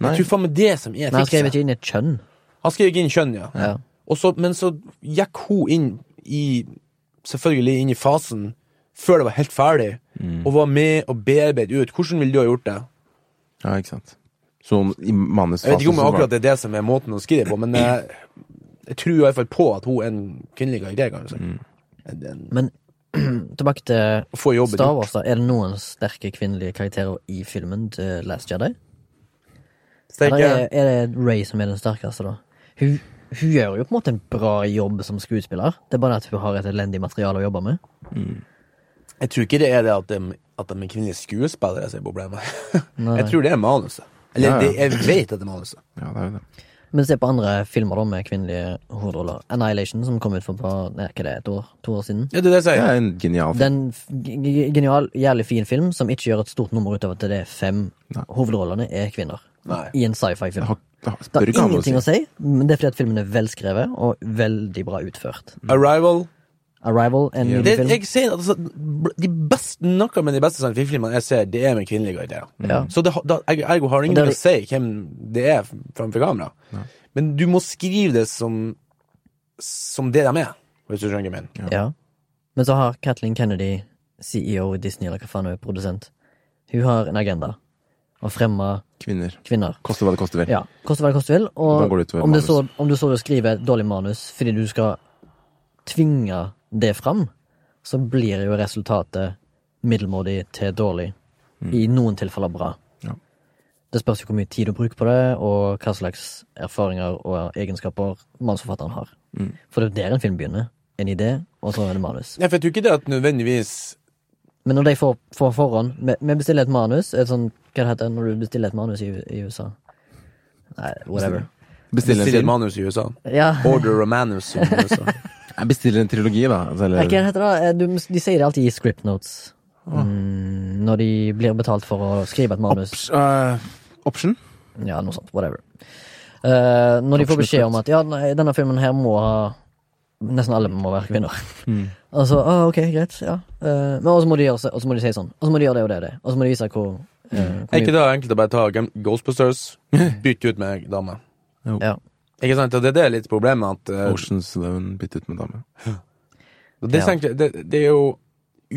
C: Nei.
A: Jeg tror faen meg det som er
B: Nei, han skrev
A: fikset.
B: ikke inn et kjønn.
A: Han skrev ikke inn kjønn, ja.
B: Ja.
A: Og så, men så gikk hun inn i Selvfølgelig inn i fasen før det var helt ferdig,
B: Mm.
A: og var med og bearbeidet ut. Hvordan ville du ha gjort det?
C: Ja, ikke sant. Så i manusfasen
A: Jeg vet ikke om
C: så var-
A: akkurat det er det som er måten å skrive på, men jeg, jeg tror i hvert fall på at hun er en kvinnelig karakter, kanskje.
B: Mm.
A: En- en-
B: Men tilbake til
A: Å få jobben
B: Star
A: gjort.
B: Wars, da. Er det noen sterke kvinnelige karakterer i filmen til Last Jedi?
A: Sterke-
B: Eller er, er det Ray som er den sterkeste, da? Hun, hun gjør jo på en måte en bra jobb som skuespiller. Det er bare det at hun har et elendig materiale å jobbe med.
A: Jeg tror ikke det er det at de, at de er kvinnelige skuespillere som er problemet.
B: Nei.
A: Jeg tror det er manuset. Eller
C: Ja, ja.
A: Det, jeg vet at det er manuset.
C: Ja, det er jo det.
B: Men se på andre filmer da med kvinnelige hovedroller. Annihilation, som kom ut for bare, nei, hva er det, et år, to år siden.
A: Ja, det er det jeg
C: Det
A: sier.
C: er en genial film.
B: Den f- g- g- genial, jævlig fin film som ikke gjør et stort nummer ut av at det er fem
C: Nei.
B: hovedrollene er kvinner.
A: Nei.
B: I en sci-fi-film.
C: Det har, det har,
B: Det
C: spør
B: har
C: ikke han å si.
B: ingenting å si, men det er fordi at filmen er velskrevet og veldig bra utført.
A: Arrival.
B: Arrival, en
C: Ja.
A: Det,
B: nydelig film.
A: jeg sier, altså, bl- de beste, noe med de beste science fiction-filmene jeg ser, det er med kvinnelige karakterer.
B: Ja.
A: Så det, har- da, jeg, jeg har
B: Og det
A: ingen
B: er-
A: å si hvem det er framfor kamera. Men du må skrive det som, som det de er, hvis du skjønner hva jeg mener.
B: Ja. Men så har Kathleen Kennedy, CEO i Disney, eller hva faen hun er, produsent, hun har en agenda. Å fremme
C: Kvinner.
B: kvinner.
C: Koste hva det koste vil.
B: Ja, koste hva det koste vil.
C: Da går det
B: Og
C: utover
B: om du,
C: manus.
B: så, om du så du skriver et dårlig manus fordi du skal tvinge det fram, så blir jo resultatet middelmådig til dårlig. I noen tilfeller bra.
C: Mm. Ja.
B: Det spørs jo hvor mye tid du bruker på det, og hva slags erfaringer og egenskaper manusforfatteren har.
C: Mm.
B: For det er jo der en film begynner. En idé, og så er det manus.
A: Ja, for jeg tror ikke det at nødvendigvis
B: Men når de får, får forhånd vi- Vi bestiller et manus. Et sånn, hva det heter det når du bestiller et manus i, i USA? Nei, whatever.
C: Bestille
A: bestiller
C: en
A: et
C: film.
A: manus i USA.
B: Ja.
A: Order a manus i USA.
C: Jeg bestiller en trilogi, da. Altså,
B: Nei, Hva
C: eller,
B: heter det? da? Eh, Du, de sier det alltid i script notes. Mm, når de blir betalt for å skrive et manus.
C: Ops- eh, option?
B: Ja, noe sånt. Whatever. Eh, når de får beskjed om at ja, nei, denne filmen her må ha Nesten alle må være kvinner. Og så ah, ok, greit, ja. Eh, men også må de gjøre så- og så må de si sånn. Og så må de gjøre det og det og det. Og så må de vise hvor, eh, hvor
A: Er ikke
B: mye
A: det enkelt å bare ta Gam- Ghostbusters, bytte ut med dame?
B: ja.
A: Ikke sant? Og det er det litt problemet at eh,
C: Oceans Eleven byttet ut med dame.
A: Og Det,
B: Ja.
A: tenker jeg- det, det er jo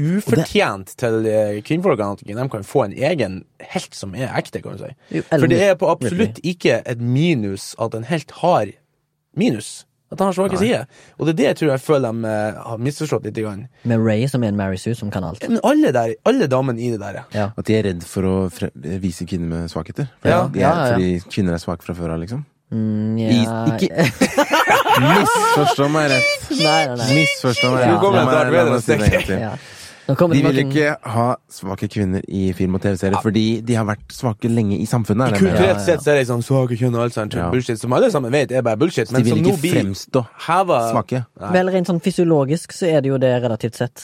A: ufortjent til eh, kvinnfolkene at de kan få en egen helt som er ekte, kan du si.
B: Jo,
A: For
B: eller-
A: det er på absolutt ikke et minus at en helt har minus. At han har svake sider. Og det er det jeg tror jeg føler de eh, har misforstått litt. Grann.
B: Med Ray, som er en Mary Sue, som kan alt.
A: Men alle, der, alle damene i det der, ja.
B: Ja.
C: At de er redd for å fre vise kvinner med svakheter. For
A: Ja,
C: de er,
B: ja, ja.
C: Fordi kvinner er svake fra før av, liksom.
B: Mm,
C: I,
B: ja.
C: ikke Misforstå meg rett!
B: Nei, nei, nei.
C: Misforstå meg
B: Ja.
C: rett.
B: Nå kommer
C: La meg-
A: Darth Vader
C: la meg
A: og
C: si det en gang
A: stikker.
C: til.
B: Ja. Nå kommer
C: De
B: det
C: vil
B: noen-
C: ikke ha svake kvinner i film og TV-serier, fordi de har vært svake lenge i samfunnet. Er det jeg mener.
B: Ja, ja,
A: Kulturelt
B: ja.
A: sett så er det liksom svake kjønn og alt sånt.
C: Ja.
A: Bullshit, som alle sammen vet er bare bullshit.
C: De
A: Men
C: vil
A: som nå
C: ikke
A: blir
C: fremstå
A: heva
C: svake.
B: Vel, rent sånn fysiologisk så er det jo det relativt sett.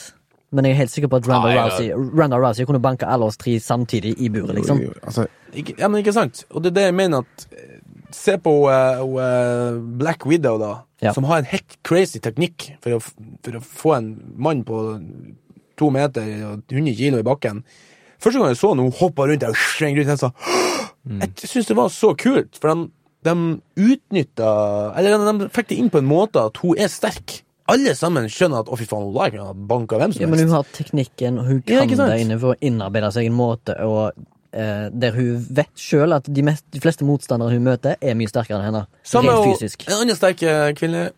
B: Men jeg er helt sikker på at
A: Ah,
B: Randa
A: ja, ja.
B: Rousey, Ronda Rousey kunne banke alle oss tre samtidig i buret, liksom.
C: Jo, jo, Altså,
A: Ikke, ja, men ikke sant? Og det er det jeg mener at eh, Se på eh, hun, eh, Black Widow, da.
B: Ja.
A: Som har en helt crazy teknikk for å, f- for å få en mann på to meter og 100 kilo i bakken. Første gang jeg så henne, hun hoppa rundt der og sprang rundt. Jeg sa
B: Mm.
A: Jeg syns det var så kult, for de, de utnytta Eller de, de fikk det inn på en måte at hun er sterk. Alle sammen skjønner at 'å, fy faen, hun kunne ha banka hvem
B: Ja,
A: som
B: men hun
A: helst'.
B: har teknikken, og hun
A: Ja,
B: kan
A: ikke sant?
B: det inne for å innarbeide seg en måte og, eh, der hun vet sjøl at de, mest, de fleste motstandere hun møter, er mye sterkere enn henne.
A: Samme
B: rent
A: hun-
B: fysisk.
A: en annen sterk eh, kvinne,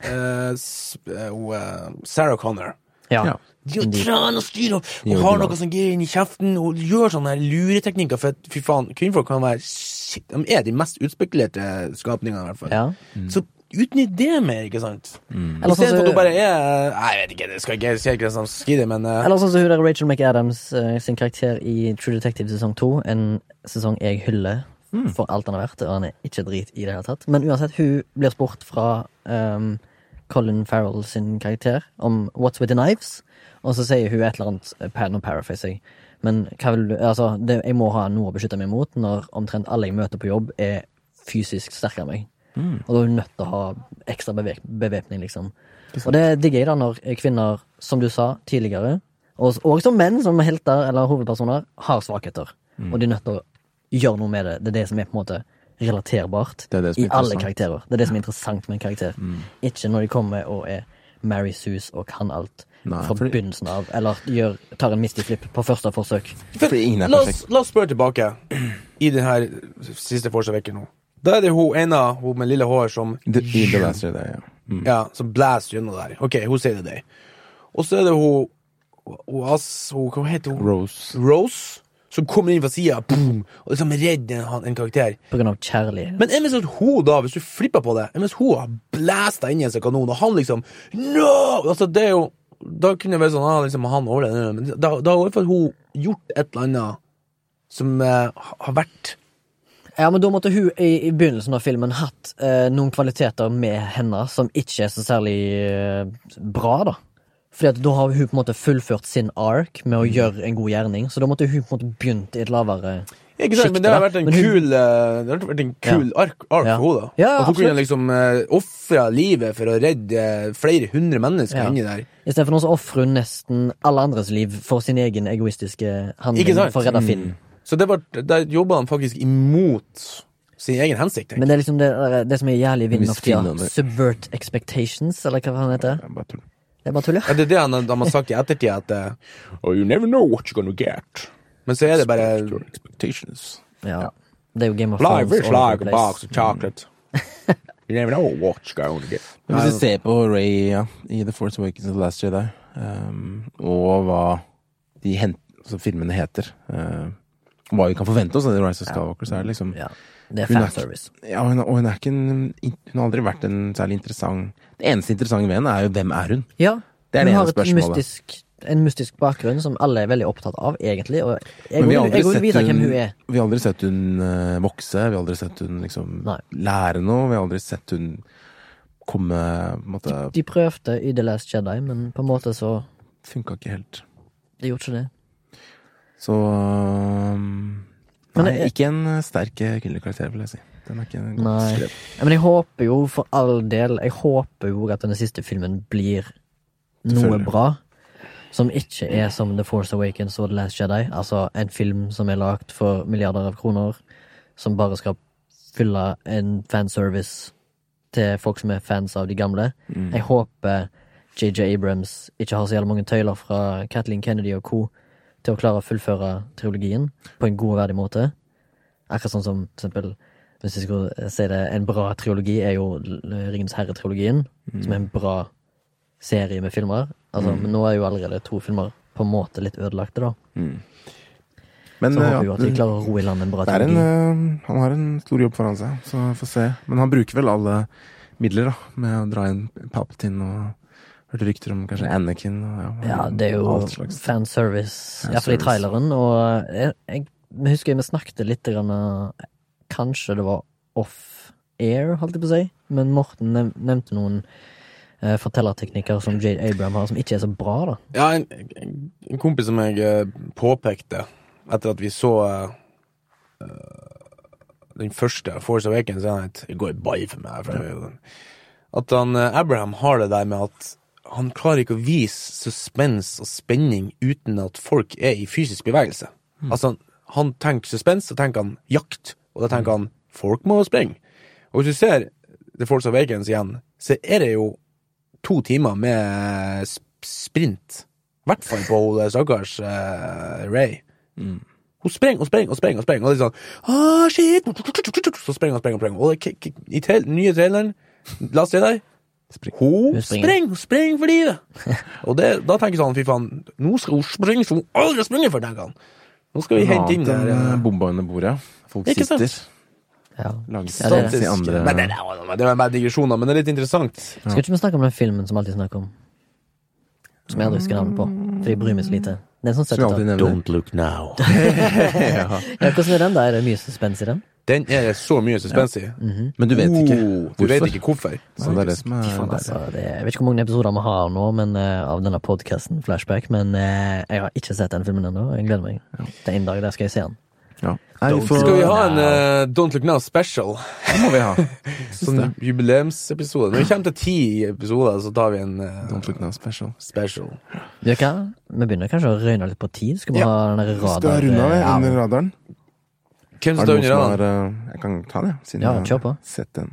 A: eh, s- eh, hun, eh, Sarah Connor.
B: Ja.
C: ja.
A: De trener og styrer og
C: Jo,
A: har
C: de
A: noe som gir inn i kjeften og gjør sånne her lureteknikker. For at, fy faen, kvinnfolk kan være shit, De er de mest utspekulerte skapningene, i hvert fall.
B: Ja.
A: Så utnytt det mer, ikke sant? I
B: Eller sånn
A: stedet for at
B: som-
A: hun bare er Nei, Jeg vet ikke, det skal ikke jeg si hva som skriver, men eh,
B: Eller sånn som hun der Rachel McAdams eh, sin karakter i True Detective sesong 2. En sesong jeg hyller for alt han har vært, og han er ikke drit i det hele tatt. Men uansett, hun blir spurt fra ehm, Colin Farrell sin karakter om What's With The Knives, og så sier hun et eller annet eh, pa- Nå paraphraser jeg. Men hva vil du Altså, det, jeg må ha noe å beskytte meg mot når omtrent alle jeg møter på jobb, er fysisk sterkere enn meg.
C: Mm.
B: Og da er du nødt til å ha ekstra bevek- bevæpning, liksom. Og det digger jeg da når kvinner, som du sa tidligere, og, og som menn, som helter eller hovedpersoner, har svakheter.
C: Mm.
B: Og de er nødt til å gjøre noe med det. Det er det som er på en måte relaterbart
C: Det er det som er
B: i alle
C: interessant. Mm.
B: karakterer. Det er det som er interessant med en karakter. Ikke når de kommer og er Mary Sus og kan alt
C: Nei,
B: fra
C: fordi-
B: begynnelsen av, eller gjør, tar en misty flip på første forsøk.
C: Fordi ingen er
A: la, oss,
C: perfekt.
A: la oss spørre tilbake i den her siste Force Awakens nå. Da er det hun ene hun med lille hår som
C: The, I The Last Jedi, ja. Mm.
A: Ja, som blæser gjennom der. OK, hun sier det deg. Og så er det hun, hun, ass, hun Hva heter hun?
C: Rose.
A: Rose, som kommer inn fra sida og liksom redder han- en karakter.
B: På grunn av kjærlighet.
A: Men er det sånn at hun da, hvis du flipper på det Er det sånn at hun har blæsta inn i en sånn kanon, og han liksom No! Altså, det er jo Da kunne det vært sånn ah, liksom, Han over det, men da, da har i hvert fall hun gjort et eller annet som eh, har vært
B: Ja, men da måtte hun i, i begynnelsen av filmen hatt eh, noen kvaliteter med henne som ikke er så særlig eh, bra, da. Fordi at da har hun på en måte fullført sin ark med å gjøre en god gjerning, så da måtte hun på en måte begynt i et lavere
A: ikke sant, men
B: Sjiktet,
A: det har
B: da.
A: vært en
B: Men hun-
A: kul eh, Det har vært en kul ark, ark
B: Ja.
A: for henne, da.
B: Ja,
A: At hun kunne
B: absolutt.
A: liksom uh, ofre livet for å redde flere hundre mennesker
B: Ja.
A: inni der.
B: Istedenfor noe så ofrer hun nesten alle andres liv for sin egen egoistiske
A: Ikke
B: handling
A: sant?
B: for å redde Finn.
A: Så det var, der jobba han faktisk imot sin egen hensikt. tenker jeg.
B: Men det er liksom det, der- det som er jævlig i vinden
C: Hvis
B: av tida.
C: Finn hadde-
B: Subvert expectations, eller hva faen heter det?
C: Ja, bare tull.
B: Det er bare tull, ja.
A: Ja, det er det han, de har sagt i ettertid, at eh,
C: Oh, you never know what you're gonna get.
A: Men så er det bare
C: Your expectations.
B: ja. Det er jo Game of Thrones. all over the place.
A: of chocolate. you never know what you're going to get.
C: Men Hvis du ser på Ray ja, i The Force Awakens og The Last Jedi, ehm, og hva de hent, altså filmene heter eh, Hva vi kan forvente oss av The Rise of Skywalker, så er det liksom
B: Ja. Det er
C: Hun er-
B: fanservice.
C: Ja, hun, er- og hun er ikke en, Hun har aldri vært en særlig interessant Det eneste interessante ved henne er jo hvem er hun?
B: Ja,
C: Det er
B: hun
C: det
B: har
C: ene
B: et
C: spørsmålet.
B: Mystisk, en mystisk bakgrunn som alle er veldig opptatt av, egentlig. Og jeg
C: Men vi
B: vil
C: har aldri
B: jeg vil
C: sett
B: vite hvem
C: hun-
B: hun er.
C: Vi har aldri sett hun eh, vokse, vi har aldri sett hun liksom
B: Nei.
C: lære noe, vi har aldri sett hun komme på en måte,
B: De prøvde i The Last Jedi, men på en måte så
C: Funka ikke helt.
B: De gjorde ikke det.
C: Så ehm,
B: Men
C: Nei,
B: jeg-
C: ikke en sterk eh, kvinnelig karakter, vil jeg si. Den er ikke godt
B: Nei.
C: skrevet.
B: Ja, Men jeg håper jo, for all del, jeg håper jo at denne siste filmen blir noe
C: Selvfølgelig.
B: bra. Som ikke er som The Force Awakens og The Last Jedi. Altså en film som er lagd for milliarder av kroner, som bare skal fylle en fanservice til folk som er fans av de gamle. Jeg håper JJ Abrams ikke har så jævlig mange tøyler fra Kathleen Kennedy og co. til å klare å fullføre trilogien på en god og verdig måte. Akkurat sånn som for eksempel, hvis jeg skulle si det, en bra trilogi er jo L- Ringens herre-trilogien, som er en bra serie med filmer. Altså,
C: Mm.
B: Men nå er jo allerede to filmer på en måte litt ødelagte, da.
C: Mm. Men
B: Så
C: eh,
B: håper vi jo at de
C: det-
B: klarer å ro i land en bra
C: det er en,
B: trilogi.
C: eh, han har en stor jobb foran seg, så vi får se. Men han bruker vel alle midler, da, med å dra inn Palpatine og hørte rykter om kanskje Anakin og ja,
B: Ja, det er jo
C: eh, alt slags.
B: fanservice, iallfall i
C: Fanservice.
B: traileren. Og eh, jeg, jeg jeg husker vi snakket litt grann, eh, Kanskje det var off-air, holdt jeg på å si. Men Morten nev nevnte noen eh, fortellerteknikker som Jade Abraham har, som ikke er så bra, da.
A: Ja, en, en- en kompis som jeg eh, påpekte etter at vi så eh, den første Force Awakens, han het Det går i bai for meg. For det er jo- sånn. at han, eh, Abraham har det der med at han klarer ikke å vise suspens og spenning uten at folk er i fysisk bevegelse. Altså, han, han tenker suspens, så tenker han jakt, og da tenker han folk må springe. Og hvis du ser The Force Awakens igjen, så er det jo to timer med sp- sprint. I hvert fall på hun der stakkars eh, Ray.
B: Mm.
A: Hun sprenger og sprenger og sprenger. Og sprenger Og det er sånn ah, shit Så sprenger hun, sprenger hun, sprenger hun. Og det, k- k- i trail, nye traileren, la oss se der
C: Spring.
A: Hun
B: Hun springer.
A: sprenger, hun sprenger fordi det. Og det, da tenker jeg sånn, fy faen, nå skal hun springe som hun aldri springer før, tenker han. Nå skal vi hente inn
C: Annet enn
A: der eh,
C: eh, bomba under bordet. Folk
A: Ikke sant?
C: sitter,
B: Ja. Ja,
C: lager
B: det er
C: stunts i andre
A: Men det, det var- det var bare digresjoner, men det er litt interessant.
B: Skal ikke vi snakke om den filmen som alltid snakker om? Som jeg aldri husker navnet på, for jeg bryr meg så lite. Det er sånn
C: som vi alltid
B: 70-tall.
C: nevner.
A: look now.
B: Ja, hvordan er den, da? Er det mye suspens i den?
A: Den er det så mye suspens i.
C: Men Mhm. du vet ikke
A: Oh, Du
C: hvorfor.
A: vet ikke hvorfor.
C: Så det er det som er
B: Faen,
C: deilig.
B: altså, det, jeg vet ikke hvor mange episoder vi har nå men, eh, av denne podkasten, Flashback, men eh, jeg har ikke sett den filmen ennå. Jeg gleder meg. Det er en dag der skal jeg se den.
C: Ja. Nei, vi
B: Don't
C: får,
A: Skal vi
C: det
A: ha en eh, Don't Look Now special?
C: må vi ha.
A: Sånn jubileumsepisode. Når vi kommer til ti episoder, så tar vi en eh,
C: Don't look now special.
A: special.
B: Vet du hva? Vi begynner kanskje å røyne litt på tid. Skal vi
C: Ja.
B: ha den der
C: Skal
B: radaren?
C: jeg runde av det
B: Ja.
C: under radaren?
A: Hvem som
C: Er
A: står
C: det noen
A: under
C: som
A: radaren?
C: har eh, Jeg kan ta det, siden
B: Ja,
C: jeg
B: kjør
C: har
B: på.
C: sett den.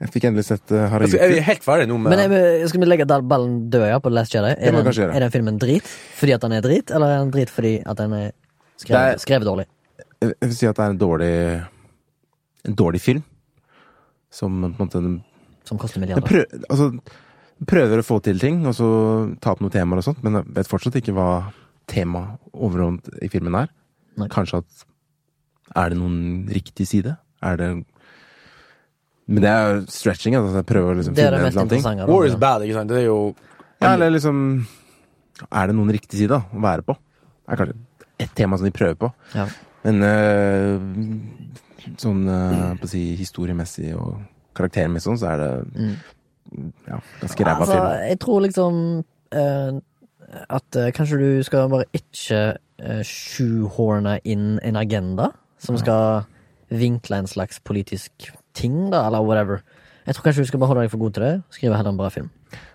C: Jeg fikk endelig sett eh,
A: Altså, er
C: Harajuku.
A: vi helt ferdige nå med
B: Men er vi, skal vi legge den ballen død ja, på Last Jedi? Er
C: må vi
B: den,
C: kanskje gjøre.
B: er den filmen drit fordi at den er drit, eller er den drit fordi at den er skrevet,
C: Det er-
B: skrevet dårlig?
C: Jeg vil si at det er en dårlig En dårlig film. Som på en måte den
B: Som koster
C: den
B: milliarder.
C: prø, altså, den prøver å få til ting, og så ta opp noen temaer og sånt, men jeg vet fortsatt ikke hva temaet overordnet i filmen er.
B: Nei.
C: Kanskje at Er det noen riktig side? Er det Men det er jo stretching. Altså, jeg prøver å liksom
B: Det er det
C: finne en
B: mest
C: eller annen ting.
B: interessante.
A: War is
B: da.
A: bad, ikke sant? Det er jo
C: Ja, eller liksom Er det noen riktig side da, å være på? Det er kanskje ett tema som de prøver på.
B: Ja.
C: Men øh, sånn øh, på å si, historiemessig og karaktermessig sånn, så er det ja, ganske ræva
B: Altså,
C: film.
B: jeg tror liksom eh, at eh, kanskje du skal bare ikke eh, shoehorne inn en agenda
C: Mm.
B: som skal vinkle en slags politisk ting, da, eller whatever. Jeg tror kanskje du skal bare holde deg for god til det, skrive heller en bra film.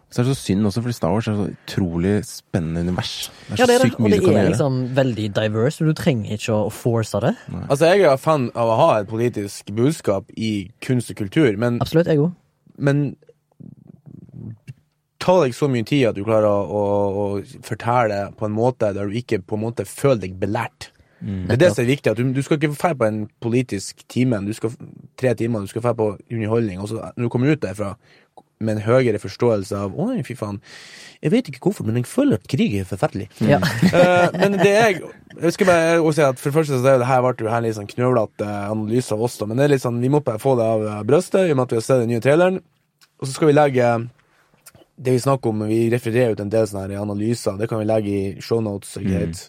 C: Så er det så synd også, fordi Star Wars er så utrolig spennende univers. Det er
B: Ja,
C: så
B: det er det.
C: sykt
B: Og
C: mye
B: det
C: du kan
B: er
C: gjøre.
B: liksom veldig diverse, og du trenger ikke å force det.
A: Altså, jeg er fan av å ha et politisk budskap i kunst og kultur, men,
B: Absolutt, jeg òg.
A: men ta deg så mye tid at du klarer å, å, å fortelle på en måte der du ikke på en måte føler deg belært. Det er det som er viktig. at Du, du skal ikke dra på en politisk time, du skal tre timer, du skal dra på underholdning. Og så når du kommer ut derfra med en høyere forståelse av Oi, fy faen. Jeg vet ikke hvorfor, men jeg føler at krig er forferdelig.
B: Ja.
C: Mm.
A: Eh, men det jeg Jeg skal bare også si at for det første så er jo det her ble jo her en litt sånn knøvlete analyse av oss, da, men det er litt sånn, vi må bare få det av eh, brøstet i og med at vi har sett den nye traileren. Og så skal vi legge det vi snakker om, vi refererer ut en del sånne her analyser, det kan vi legge i shownotes. og greit.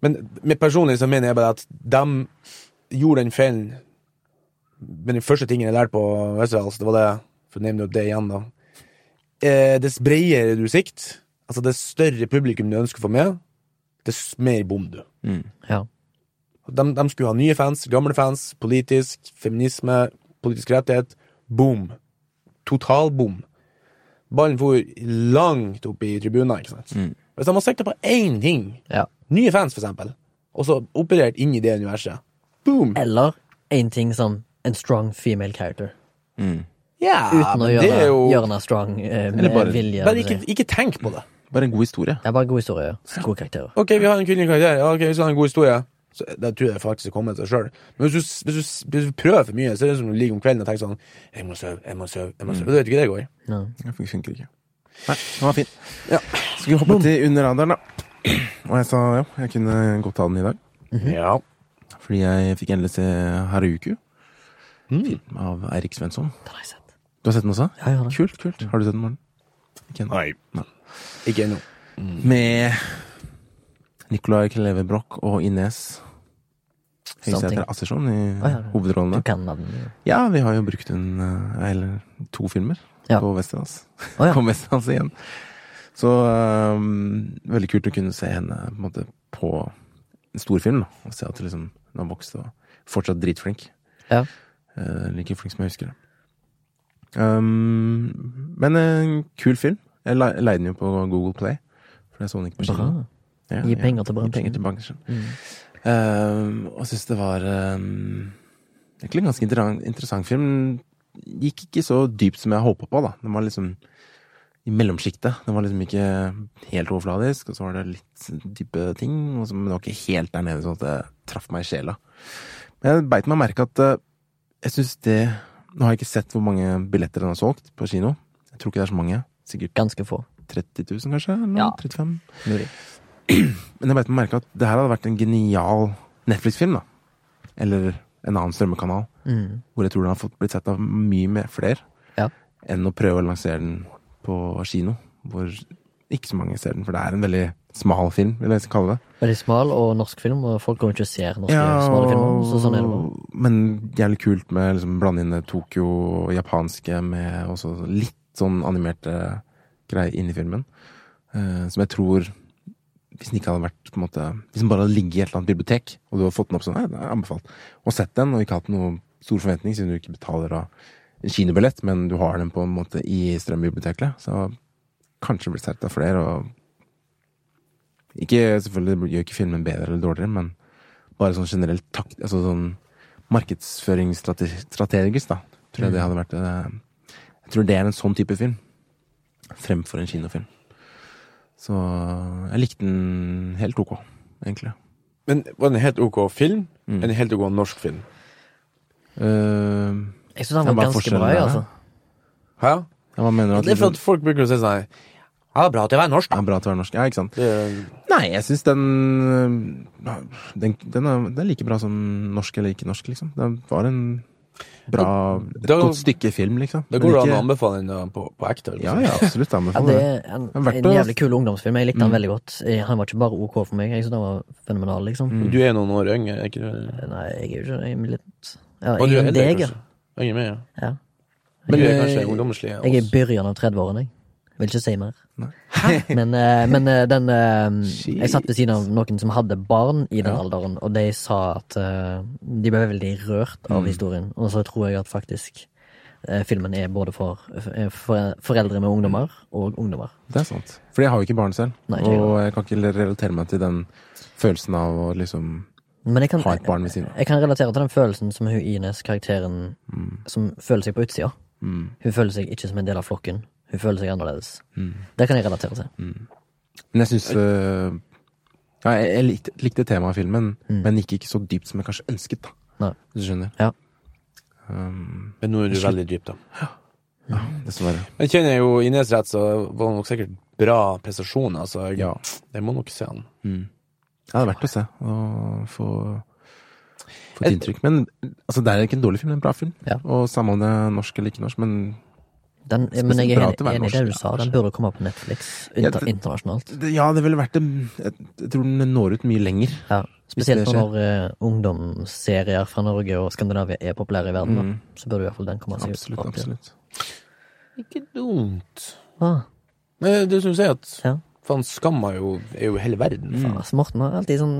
A: Men men personlig så mener jeg bare at de gjorde den feilen med den første tingen jeg lærte på Westerdals, det var det, for å nevne det igjen, da eh, dess bredere du sikt, altså dess større publikum du ønsker å få med, dess mer bom du.
C: Mm.
B: Ja.
A: De, de skulle ha nye fans, gamle fans, politisk, feminisme, politisk rettighet. Boom. Totalbom. Ballen for langt opp i tribunen, ikke sant.
C: Mm.
A: Hvis de har sikta på én ting,
B: ja.
A: nye fans for eksempel, og så operert inn i det universet, boom!
B: Eller en ting som en strong female character.
C: Mm.
A: Ja,
B: Uten å
A: men det
B: gjøre
A: er jo
B: gjøre den strong eh, med
C: Eller bare-
B: vilje.
A: Bare
B: det
A: ikke, ikke tenk på det.
B: liksom-
C: Bare en god historie.
B: er bare god historie. Gode karakterer.
A: Ok, vi har en kvinnelig karakter. Ja, ok, Hvis han har en god historie så, Det tror jeg faktisk kommer til seg sjøl. Men hvis du, hvis, du, hvis du prøver for mye, så er det som du ligger om kvelden og tenker sånn Jeg må sove, jeg må sove, jeg må sove. Og Du vet ikke det går.
B: Ja.
C: Det fun- funker ikke. Nei, den var fin.
A: Ja.
C: Skal vi hoppe til under radaren, da? Og jeg sa ja, jeg kunne godt ta den i dag.
A: Ja.
C: Fordi jeg fikk endelig se Haruku. Film av Eirik Svensson.
B: Den har jeg sett.
C: Du har sett den også?
B: Mm. Ja, jeg har det.
C: Kult, kult. Har du sett den, Morten? Ikke ennå.
A: Ikke ennå.
C: Med Nicolai Kleve Broch og Ines
B: Something.
C: Høysæter Assersson i
B: ja, ja. Du
C: hovedrollene.
B: kan navnet.
C: Ja, vi har jo brukt hun eh, eller to filmer
B: Ja.
C: på Westerdals.
B: Å, ja.
C: På Westerdals igjen. Så ehm, veldig kult å kunne se henne på, en måte, på en storfilm. da, Og se at liksom, hun har vokst og fortsatt dritflink.
B: Ja.
C: Eh, like flink som jeg husker det. Ehm, men en kul film. Jeg le- leide den jo på Google Play. For jeg så den ikke på
B: Bra.
C: kino. Ja,
B: Gi penger til
C: Gi penger
B: bransjen. Mm.
C: til bransjen. Ehm, og syns det var ehm, egentlig en ganske interan- interessant film. Gikk ikke så dypt som jeg håpa på, da. Den var liksom i mellomsjiktet. Den var liksom ikke helt overfladisk, og så var det litt dype ting. Og så, men det var ikke helt der nede sånn at det traff meg i sjela. Men jeg beit meg merke at eh, jeg syns det Nå har jeg ikke sett hvor mange billetter den har solgt på kino. Jeg tror ikke det er så mange. Sikkert
B: Ganske få.
C: 30 000, kanskje? Eller noe?
B: Ja.
C: 35 000?
B: Mulig.
C: Men jeg beit meg merke at det her hadde vært en genial Netflix-film, da. Eller en annen strømmekanal.
B: Mm.
C: Hvor jeg tror den har fått blitt sett av mye mer flere
B: Ja.
C: enn å prøve å lansere den på kino. Hvor ikke så mange ser den, for det er en veldig smal film, vil jeg kalle det.
B: Veldig smal og norsk film, og folk går jo ikke og ser norske smale filmer. Så sånn er det bare.
C: Men jævlig kult med liksom blande inn det Tokyo og japanske med også litt sånn animerte greier inn i filmen. eh, som jeg tror hvis den ikke hadde vært på en måte, Hvis den bare hadde ligget i et eller annet bibliotek, og du hadde fått den opp sånn, nei, den er anbefalt, og sett den, og ikke hatt noe stor forventning, siden du ikke betaler av en kinobillett, men du har den på en måte i strømbiblioteket, så kanskje blir sett av flere, og ikke, Selvfølgelig gjør ikke filmen bedre eller dårligere, men bare sånn generelt takt, altså sånn markedsføringsstrategisk, da, tror
A: Mm.
C: jeg det hadde vært eh, Jeg tror det er en sånn type film, fremfor en kinofilm. Så jeg likte den helt ok, egentlig.
A: Men var det en helt ok film? En helt ok norsk film?
C: Eh,
B: Jeg syns han
C: Det
B: var
C: er bare
B: ganske
C: forskjellen
B: bra,
C: der,
B: jeg, altså.
A: Hæ?
C: hva mener du at
A: Det er for at folk bruker å si sånn her, Ja, det er bra at jeg var norsk,
C: Ja,
A: da.
C: bra til å være norsk. Ja, ikke sant?
A: Det er-
C: Nei, jeg syns den øh, den, den, er, den er like bra som norsk eller ikke norsk, liksom. Det var en bra Et
A: Da-
C: godt stykke film, liksom.
A: Da
C: Men
A: går det an å
C: ikke-
A: anbefale den da på, på ekte.
C: Ja, ja, absolutt.
B: Ja,
C: Anbefaler
B: det
C: det.
B: er en,
C: er verdt
B: en
C: å-
B: jævlig kul ungdomsfilm. Jeg likte han veldig godt. Jeg, han var ikke bare ok for meg. Jeg synes han var fenomenal, liksom.
A: Du er noen år yngre, er ikke du?
B: Nei, jeg er jo ikke jeg er litt ja,
A: Og du
B: Jeg
A: er
B: er
A: eldre,
B: deg, ja.
A: kanskje? Yngre med, ja.
B: Ja.
A: Men du er
C: eh,
A: kanskje ungdomslig? ja,
B: Jeg er i
A: også.
B: byrjan av 30-årene, jeg. Vil ikke si mer.
C: Nei.
B: Men, eh, men eh, den eh, Jeg satt ved siden av noen som hadde barn i den
C: Ja.
B: alderen, og de sa at eh, de ble veldig rørt
C: Mm.
B: av historien. Og så tror jeg at faktisk eh, filmen er både for, for, for foreldre med ungdommer og ungdommer.
C: Det er sant. For jeg har jo ikke barn selv,
B: Nei, ikke jeg
C: og jeg kan ikke relatere meg til den følelsen av å liksom
B: Men jeg kan,
C: ha et barn ved siden av.
B: jeg kan relatere til den følelsen som hun Ines, karakteren,
C: Mm.
B: som føler seg på utsida. Hun føler seg ikke som en del av flokken. Hun føler seg annerledes.
C: Mm.
B: Det kan jeg relatere til.
C: Men jeg syns ja, jeg, jeg likte, likte temaet i filmen, men gikk ikke så dypt som jeg kanskje ønsket. da.
B: Nei.
C: Hvis du skjønner?
B: Ja.
C: Um,
A: Men nå er du veldig dyp, da.
C: dessverre.
A: Men kjenner jeg jo Ines rett, så var det nok sikkert bra prestasjon, altså. Jeg,
C: Ja.
A: Jeg må nok se han.
C: Ja, det er verdt å se og få, få et inntrykk. Men altså, det er ikke en dårlig film, det er en bra film.
B: Ja.
C: Og samme om det er norsk eller ikke norsk, men
B: Den, men jeg er
C: bra at det
B: enig
C: var
B: enig i det du
C: norsk,
B: sa.
C: ja,
B: Den burde komme på Netflix inter,
C: det-
B: internasjonalt.
C: det, ja, det ville vært en jeg, jeg tror den når ut mye lenger.
B: Ja,
C: Hvis det
B: spesielt nå
C: skjer.
B: når eh, ungdomsserier fra Norge og Skandinavia er populære i verden. Da. Så burde i hvert fall den komme seg ut.
C: Mm. Absolutt.
B: på papir.
C: absolutt.
A: Ikke dumt.
B: Ah,
A: Men det som du sier, at
B: ja.
A: faen, skam er jo, er jo hele verden.
C: Mm.
A: faen.
B: Altså, Morten har alltid sånn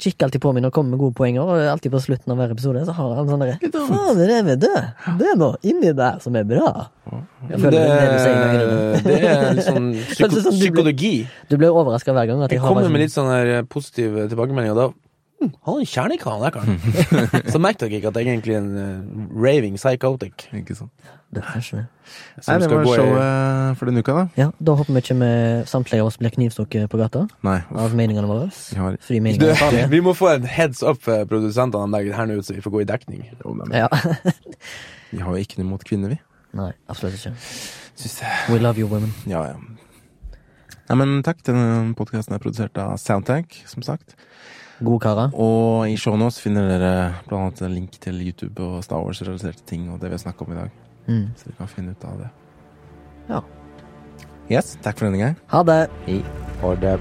B: Kikker alltid på meg når jeg kommer med gode poenger, og alltid på slutten av hver episode så har han sånn derre Faen, det er med det! Det er noe inni der som er bra! Jeg
A: Det,
B: føler det, er det du sier nå, Irene.
A: det er
C: liksom-
A: litt sånn psyko
B: Kanskje sånn du blir-
A: psykologi.
B: Du blir overraska hver gang. At jeg,
A: Jeg
B: har
A: kommer
B: bare
A: med
B: sånn-
A: litt sånn her eh, positive tilbakemeldinger, og da hm, han er en kjernekran, der karen. Så merket dere ikke at jeg er egentlig er en eh, raving psychotic.
C: Ikke sant.
B: Det er kanskje det.
C: Nei,
A: Som
C: det
A: skal
C: var
A: gå i-
C: showet for denne uka, da.
B: Ja, da håper vi ikke med samtlige av oss blir knivstukket på gata
C: Nei.
B: av meningene våre.
C: Vi har
B: Fordi
A: Du,
B: meningene er farlige.
A: vi må få en heads up for produsentene den dagen her nå, så vi får gå i dekning.
C: jo, nei, men
B: Ja.
C: Vi har jo ikke noe mot kvinner, vi.
B: Nei, absolutt ikke.
C: Syns jeg.
B: We love you women.
C: Ja, ja. Nei, men takk. Denne podkasten er produsert av Soundtank, som sagt.
B: Gode karer.
C: Og i showen vår finner dere blant annet en link til YouTube og Star Wars-relaterte ting og det vi har snakket om i dag.
B: Mm.
C: Så dere kan finne ut av det.
B: Ja.
C: Yes, takk for denne gang.
B: Ha det!
A: Og det